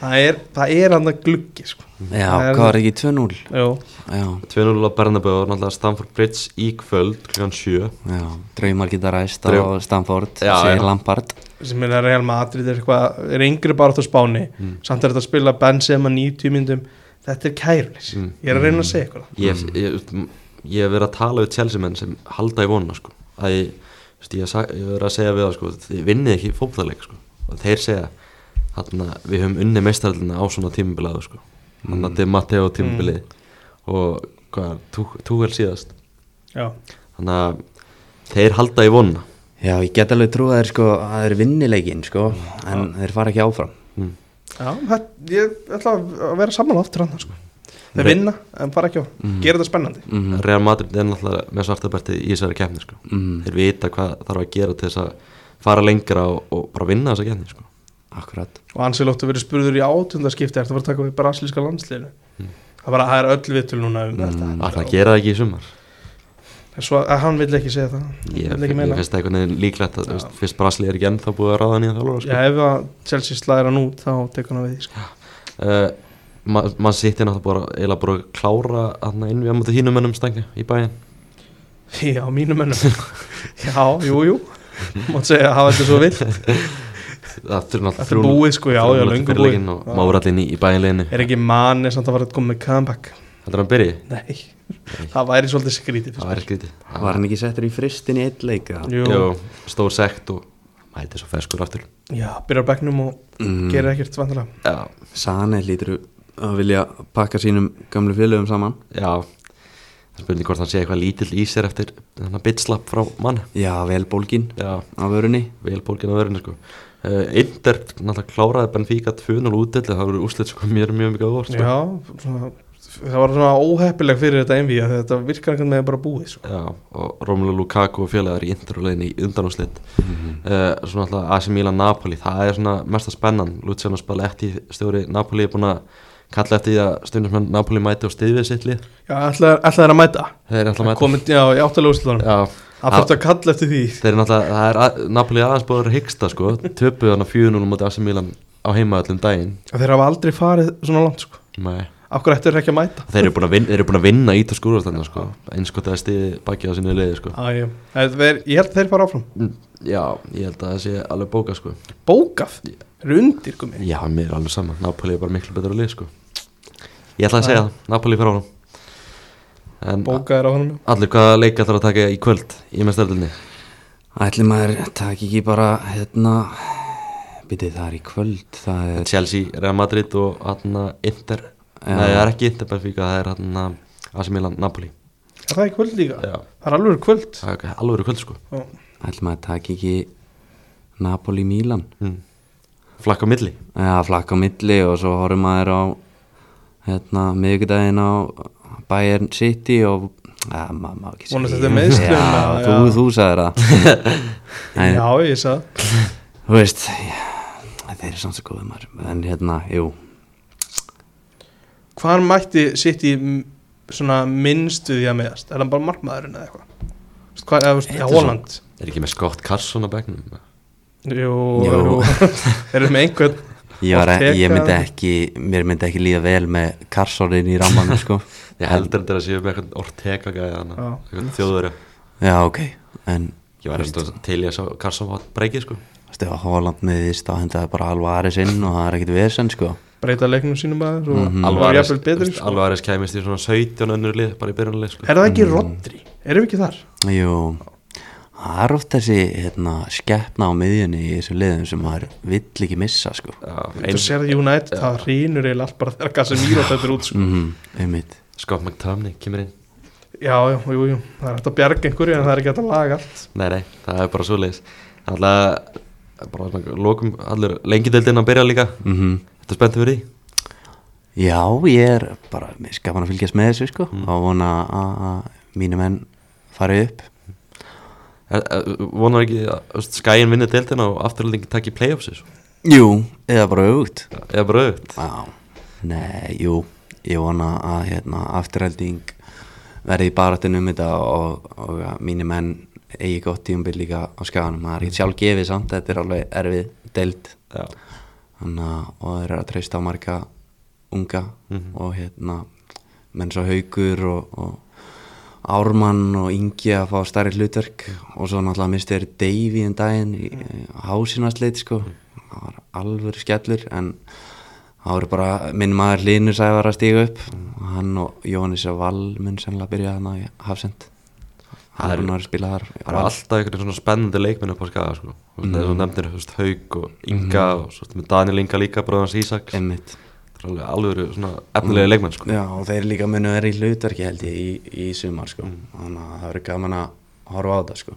Speaker 2: það er það er hann að gluggi sko
Speaker 3: Já,
Speaker 2: Það er-
Speaker 3: hvað var ekki 2-0?
Speaker 2: Jú.
Speaker 3: Já,
Speaker 1: 2-0 á Bernabeu og náttúrulega Stamford Bridge í kvöld klukkan 7
Speaker 3: Já, draumar geta ræst
Speaker 1: Draum-
Speaker 3: á Stamford,
Speaker 1: Já,
Speaker 3: segir
Speaker 1: já.
Speaker 3: Lampard
Speaker 2: sem er að Real Madrid er eitthvað er yngri bara á spáni
Speaker 1: Mm.
Speaker 2: samt er þetta að spila Benzema 90 myndum þetta er kærulis ég er að reyna að segja ykkur það
Speaker 1: Mm. ég, ég, ég hef verið að tala við Chelsea menn sem halda í vonuna sko. að ég, þú veist, ég, hef sa- ég hef verið að segja við það sko, þið vinnið ekki fótballleik sko. og þeir segja þarna, við höfum unni meistarallina á svona tímubilaðu sko. þannig að þetta er Matteo tímubilið og hvað, Tú- túvel síðast
Speaker 2: já
Speaker 1: þannig að þeir halda í vonuna
Speaker 3: Já, ég get alveg trú að þeir sko, að þeir vinni leikinn sko, en þeir fara ekki áfram
Speaker 1: Mm.
Speaker 2: Já, það, ég ætla að vera saman aftur hann sko. þeir vinna en fara ekki á
Speaker 1: Mm.
Speaker 2: gera þetta spennandi
Speaker 1: Real Madrid er náttúrulega með svartaberti í þessari keppni sko.
Speaker 3: Mm.
Speaker 1: þeir vita hvað þarf að gera til þess að fara lengra og, og bara vinna þessa keppni sko.
Speaker 3: Akkurat
Speaker 2: og Ansel óttu verið spurður í átundarskipti eftir að fara að taka við brasilíska
Speaker 1: Mm.
Speaker 3: Mm.
Speaker 2: landsliðinu það, bara, það er öll vitul núna um þetta
Speaker 1: alltaf að gera það ekki í sumar
Speaker 2: En svo að hann vill ekki segja það Hann
Speaker 1: Ég,
Speaker 2: vill
Speaker 1: ég
Speaker 2: ekki meina
Speaker 1: finnst það einhvern veginn líklegt að, þú veist, Fyrst Brasli er ekki ennþá búið að ráða nýja þjálfara
Speaker 2: Já,
Speaker 1: sko.
Speaker 2: ef að Chelsea slæðir hann út þá tekur hann við því, sko.
Speaker 1: uh, ma- Man sittir náttúrulega bara Eila bara að klára hann inn við á móti hínum ennum stangja í bæinn
Speaker 2: [LAUGHS] Já, mínum mönnum [LAUGHS] Já, jú, jú Mátt segja að hafa þetta
Speaker 1: [LAUGHS]
Speaker 2: svo vill
Speaker 1: Það þurfa náttúrulega
Speaker 2: Þetta er
Speaker 1: þrjú-
Speaker 2: búið, sko, já,
Speaker 1: þrjú
Speaker 2: já,
Speaker 1: mínútur
Speaker 2: löngu
Speaker 1: fyrir
Speaker 2: búið
Speaker 1: leikinn Og márallin í, í bæinleginni
Speaker 2: Er ekki manni samt að var að koma með comeback
Speaker 1: Heldur hann byrji?
Speaker 2: Nei, það væri svolítið skrítið
Speaker 1: Það væri skrítið
Speaker 3: Var hann ekki settur í fristin í eitt leik eða?
Speaker 2: Jú,
Speaker 1: Jó, stór sekt og mæti svo feskur aftur
Speaker 2: já, byrjar á bekknum og
Speaker 3: Mm.
Speaker 2: gerir ekkert vandilega
Speaker 1: Já,
Speaker 3: Sane lítur að vilja pakka sínum gamlu félögum saman
Speaker 1: já Það er spurning hvort hann sé eitthvað lítill í sér eftir þannig að bitslapp frá mann
Speaker 3: Já, vel bólgin
Speaker 1: Já,
Speaker 3: á vörunni
Speaker 1: vel bólgin á verðinu sko uh, Inder náttúrulega kláraði Benfica 2-0 útill það voru úrslit sko mér mjög mikið á vort
Speaker 2: Já, svona, það var svona óheppileg fyrir þetta enví að þetta virkar einhvern veginn bara búið sko.
Speaker 1: Já, og Romelu Lukaku og félagar í Inder og leiðin í undanúrslit
Speaker 3: Mhm.
Speaker 1: uh, Svona alltaf AC Milan Napoli það er svona mesta spennan Luciano Spalletti stjóri Napoli er búin að kalla eftir því að stundismenn Napoli mæti og stiðið sitt lið
Speaker 2: Já, alltaf er að mæta
Speaker 1: Þeir er alltaf
Speaker 2: Það
Speaker 1: mæti
Speaker 2: komið, já, í áttalega úrslutunum
Speaker 1: Já,
Speaker 2: Það þurfti að kalla eftir því
Speaker 1: Þeir eru náttúrulega, það er að, Napoli aðeins búið að hyggsta sko, töpuð hann að 4-0 mútið AC Milan á heimaöllum daginn
Speaker 2: að Þeir hafa aldrei farið svona langt sko.
Speaker 1: Nei.
Speaker 2: Af hverju ættu þeir ekki að mæta
Speaker 1: Þeir eru búin að vinna, þeir eru búin að vinna ít og skúrast þarna sko, eins gott að það stiði bakið á sinni liði sko.
Speaker 2: Æ, ég, þeir, ég held að þeir fara áfram
Speaker 1: Já, ég held að það sé alveg bóka sko.
Speaker 2: Bókað, rundir sko, gumi
Speaker 1: Já, mér er alveg sama, Napoli er bara miklu betra lið sko. Ég ætla að segja það, Napoli fyrir áram En
Speaker 2: Bókað er á honum
Speaker 1: allir hvaða leika þarf að taka í kvöld í mestöldinni
Speaker 3: Ætli maður takk ekki bara hérna Býtið það er í kvöld Það er
Speaker 1: Chelsea, Real Madrid og hann Inter,
Speaker 3: Já.
Speaker 1: nei það er ekki Inter Benfica, það er hann AC Milan Napoli
Speaker 2: Er það er kvöld líka?
Speaker 1: Já.
Speaker 2: Það er alveg kvöld
Speaker 1: Það er alveg verið kvöld sko
Speaker 2: Já.
Speaker 3: Ætli maður takk ekki Napoli Mílan
Speaker 1: mm. Flakk á milli
Speaker 3: Já, flakk á milli og svo horfum maður á hérna, miðvikudaginn á Bayern City og ja, maður má ekki
Speaker 2: Vonast þetta er meiðsli,
Speaker 3: Já,
Speaker 2: maður,
Speaker 3: þú,
Speaker 2: já.
Speaker 3: þú sagðir það
Speaker 2: [LAUGHS]
Speaker 3: en,
Speaker 2: Já, ég sagði
Speaker 3: þú veist já, þeir eru samt svo góðið maður en hérna, jú,
Speaker 2: Hvar mætti sitt í m- svona minnstu því að meðast? Er hann bara markmaðurinn eða eitthvað? Þú veist, Hvað, eða, þú veist, já,
Speaker 1: Þetta er
Speaker 2: Holland
Speaker 1: Er ekki með Scott Carson á begnum
Speaker 2: Jú, [LAUGHS]
Speaker 3: Jú.
Speaker 2: jú. Erum við með einhvern
Speaker 3: ég, var, e,
Speaker 2: Og teka-
Speaker 3: ég myndi ekki mér myndi ekki líða vel með karsorinn í rammanum,
Speaker 2: [LAUGHS]
Speaker 3: sko
Speaker 1: Ég heldur þetta að séu með eitthvað Ortega gæði hann
Speaker 2: Já.
Speaker 1: Eitthvað þjóðveri
Speaker 3: já, ok, en
Speaker 1: Ég var eftir til ég að sá Carson var breykið sko
Speaker 3: Stefa Holland meðist á hendaði bara alvaris inn og það er ekkit vesen, sko
Speaker 2: breyta leiknum sínum aðeins og mm
Speaker 3: Mhm.
Speaker 2: -hmm. var jafnvel betri sko.
Speaker 1: Alvaris kæmist í svona 17 önnur lið bara í byrjunarlið sko
Speaker 2: Er það ekki Rodri? Erum við ekki þar?
Speaker 3: Jú, það er oft þessi hérna, skeppna á miðjunni í þessu liðum sem maður vill ekki missa sko.
Speaker 1: Já,
Speaker 2: Þú
Speaker 1: eins
Speaker 2: sér að United, það hrýnur eiginlega allt bara þegar Casemiro þetta er út sko.
Speaker 3: mm -hmm, einmitt
Speaker 1: Scott McTominay kemur inn
Speaker 2: Já, já, jú, jú, það er hægt að bjarga einhverju en það er ekki hægt að laga allt
Speaker 1: Nei, nei, það er bara svo leiðis Alltaf bara svona lokum allir lengideldin að byrja líka
Speaker 3: mm
Speaker 1: Þetta er spenntið fyrir því
Speaker 3: Já, ég er bara mér er skapan að fylgjast með þessu sko, og vona að að mínu menn fari upp
Speaker 1: Er- er- Vonar ekki að skæin vinni deildina og afturlendingin takk í playoffsi svo
Speaker 3: Jú, eða bara auðvult
Speaker 1: sko? Eða bara auðvitt
Speaker 3: Já, nei, jú ég vona að hérna, afturhalding verði í baratinu um þetta og, og að mínu menn eigi gott tíumbil líka á skaganum það er ekkert sjálf gefið samt, þetta er alveg erfið deild
Speaker 1: Já,
Speaker 3: Þannig að, og þeir eru að treysta á marga unga
Speaker 1: Mhm.
Speaker 3: og hérna menn svo haugur og, og Ármann og Ingi að fá starri hlutverk og svo náttúrulega misti þeir Davy en daginn í
Speaker 1: Mhm.
Speaker 3: hásinarsleit sko, það var alvöru skellur en það voru bara minn maður Linur sævar að stíga upp
Speaker 1: Mhm.
Speaker 3: hann og Jóhannes og Val mun sennilega byrja þarna í hafsend
Speaker 1: Það
Speaker 3: hann
Speaker 1: eru-
Speaker 3: er náður að spila þar
Speaker 1: það er alltaf einhvern veginn svona spennandi leikminn upp á skaga sko. mm. það er svona nefndir þú veist, Haug og Inga
Speaker 3: Mm.
Speaker 1: og svo ertu með Daniel Inga líka bróðans Ísak það
Speaker 3: Einmitt.
Speaker 1: er alveg alveg svona efnilega leikmenn sko.
Speaker 3: Mm. Já, og þeir líka munu vera í hlutverki held ég í, í sumar sko. þannig að það verður gaman að horfa á þetta sko.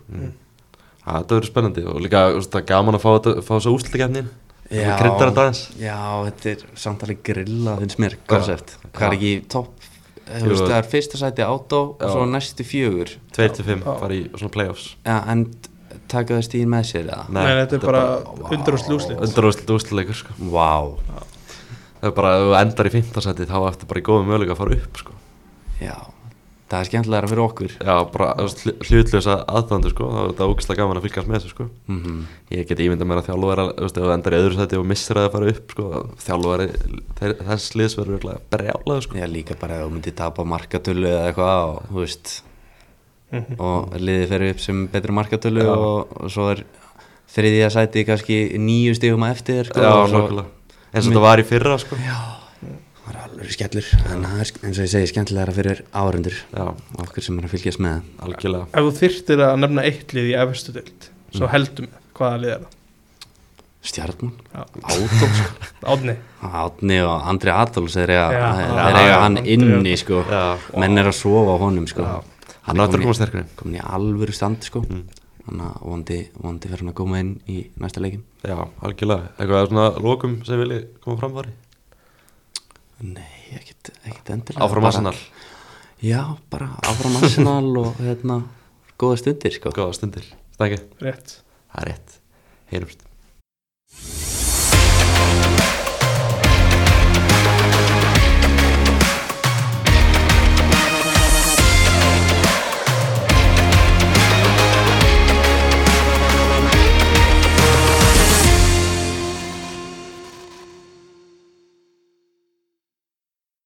Speaker 1: það þetta verður spennandi og líka þú veist, það er gaman að fá, þetta- fá þess að úslutakefnin
Speaker 3: Já,
Speaker 1: kryddar þetta aðeins
Speaker 3: Já, þetta er samt alveg grilla finnst mér, koncept Hvað er ekki í topp, eh, þú
Speaker 1: Jú.
Speaker 3: veist, það er fyrsta sæti átó og svo næstu fjögur
Speaker 1: 2-5 fara í svona playoffs
Speaker 3: Já, en taka það stíðin með sér eða?
Speaker 2: Nei, þetta er bara undur og slúslit
Speaker 1: undarúslut úsluleikur sko.
Speaker 3: Vá wow.
Speaker 1: það er bara ef þú endar í 15 seti þá eftir bara í góðum möguleika að fara upp sko.
Speaker 3: Já, það er skemmtilega fyrir okkur
Speaker 1: Já, bara hlutlösa aðdæðandi sko, það það er ógæslega gaman að fylgjast með þessu sko.
Speaker 3: mm -hmm.
Speaker 1: Ég geti ímyndað mér að þjálfveri, þú veist, ef það endar í öðru sæti og missir að það fara upp sko, þjálfveri, þess liðs verður örugglega brjálaður sko.
Speaker 3: Já, líka bara ef þú myndir tapa markatölu eða eitthvað og, þú veist, og liðið fer upp sem betri markatölu
Speaker 1: Mhm. Já.
Speaker 3: og, og svo er þriðja sæti kannski nýju stífum að eftir sko,
Speaker 1: Já,
Speaker 3: og svo-
Speaker 1: nokkulega. Eins og þetta var í fyrra sko.
Speaker 3: Já, það er alveg skellur en það er eins og ég segi skemmtilegra fyrir áhörundur
Speaker 1: Já,
Speaker 3: okkur sem er að fylgjast með
Speaker 1: algjörlega.
Speaker 2: Ef þú þyrtir að nefna eitt lið í efstu dild Svo heldum við hvaða lið er það
Speaker 3: Stjarnan,
Speaker 2: Já.
Speaker 3: Ától sko.
Speaker 2: Átni,
Speaker 3: Átni og Andri Ától þeir eiga,
Speaker 2: Já.
Speaker 3: þeir
Speaker 1: Já,
Speaker 3: eiga
Speaker 1: já,
Speaker 3: hann
Speaker 2: Andri
Speaker 3: inni sko.
Speaker 1: Já.
Speaker 3: menn er að sofa á honum sko.
Speaker 1: Hann áttur að Mm. koma
Speaker 3: kominn-
Speaker 1: sterkur inn.
Speaker 3: komin í alvöru stand sko. þannig að vondi, vondi fer hann að koma inn í næsta leikin
Speaker 1: Já, algjörlega. Eitthvað er svona lókum sem vilji koma framfari?
Speaker 3: nei, ekkit, ekkit endilega
Speaker 1: Áfram
Speaker 3: Bara-
Speaker 1: Arsenal,
Speaker 3: já, bara áfram Arsenal og hérna, góða stundir sko.
Speaker 1: góða stundir. Stækki,
Speaker 2: rétt
Speaker 1: það er rétt. Heyrumst.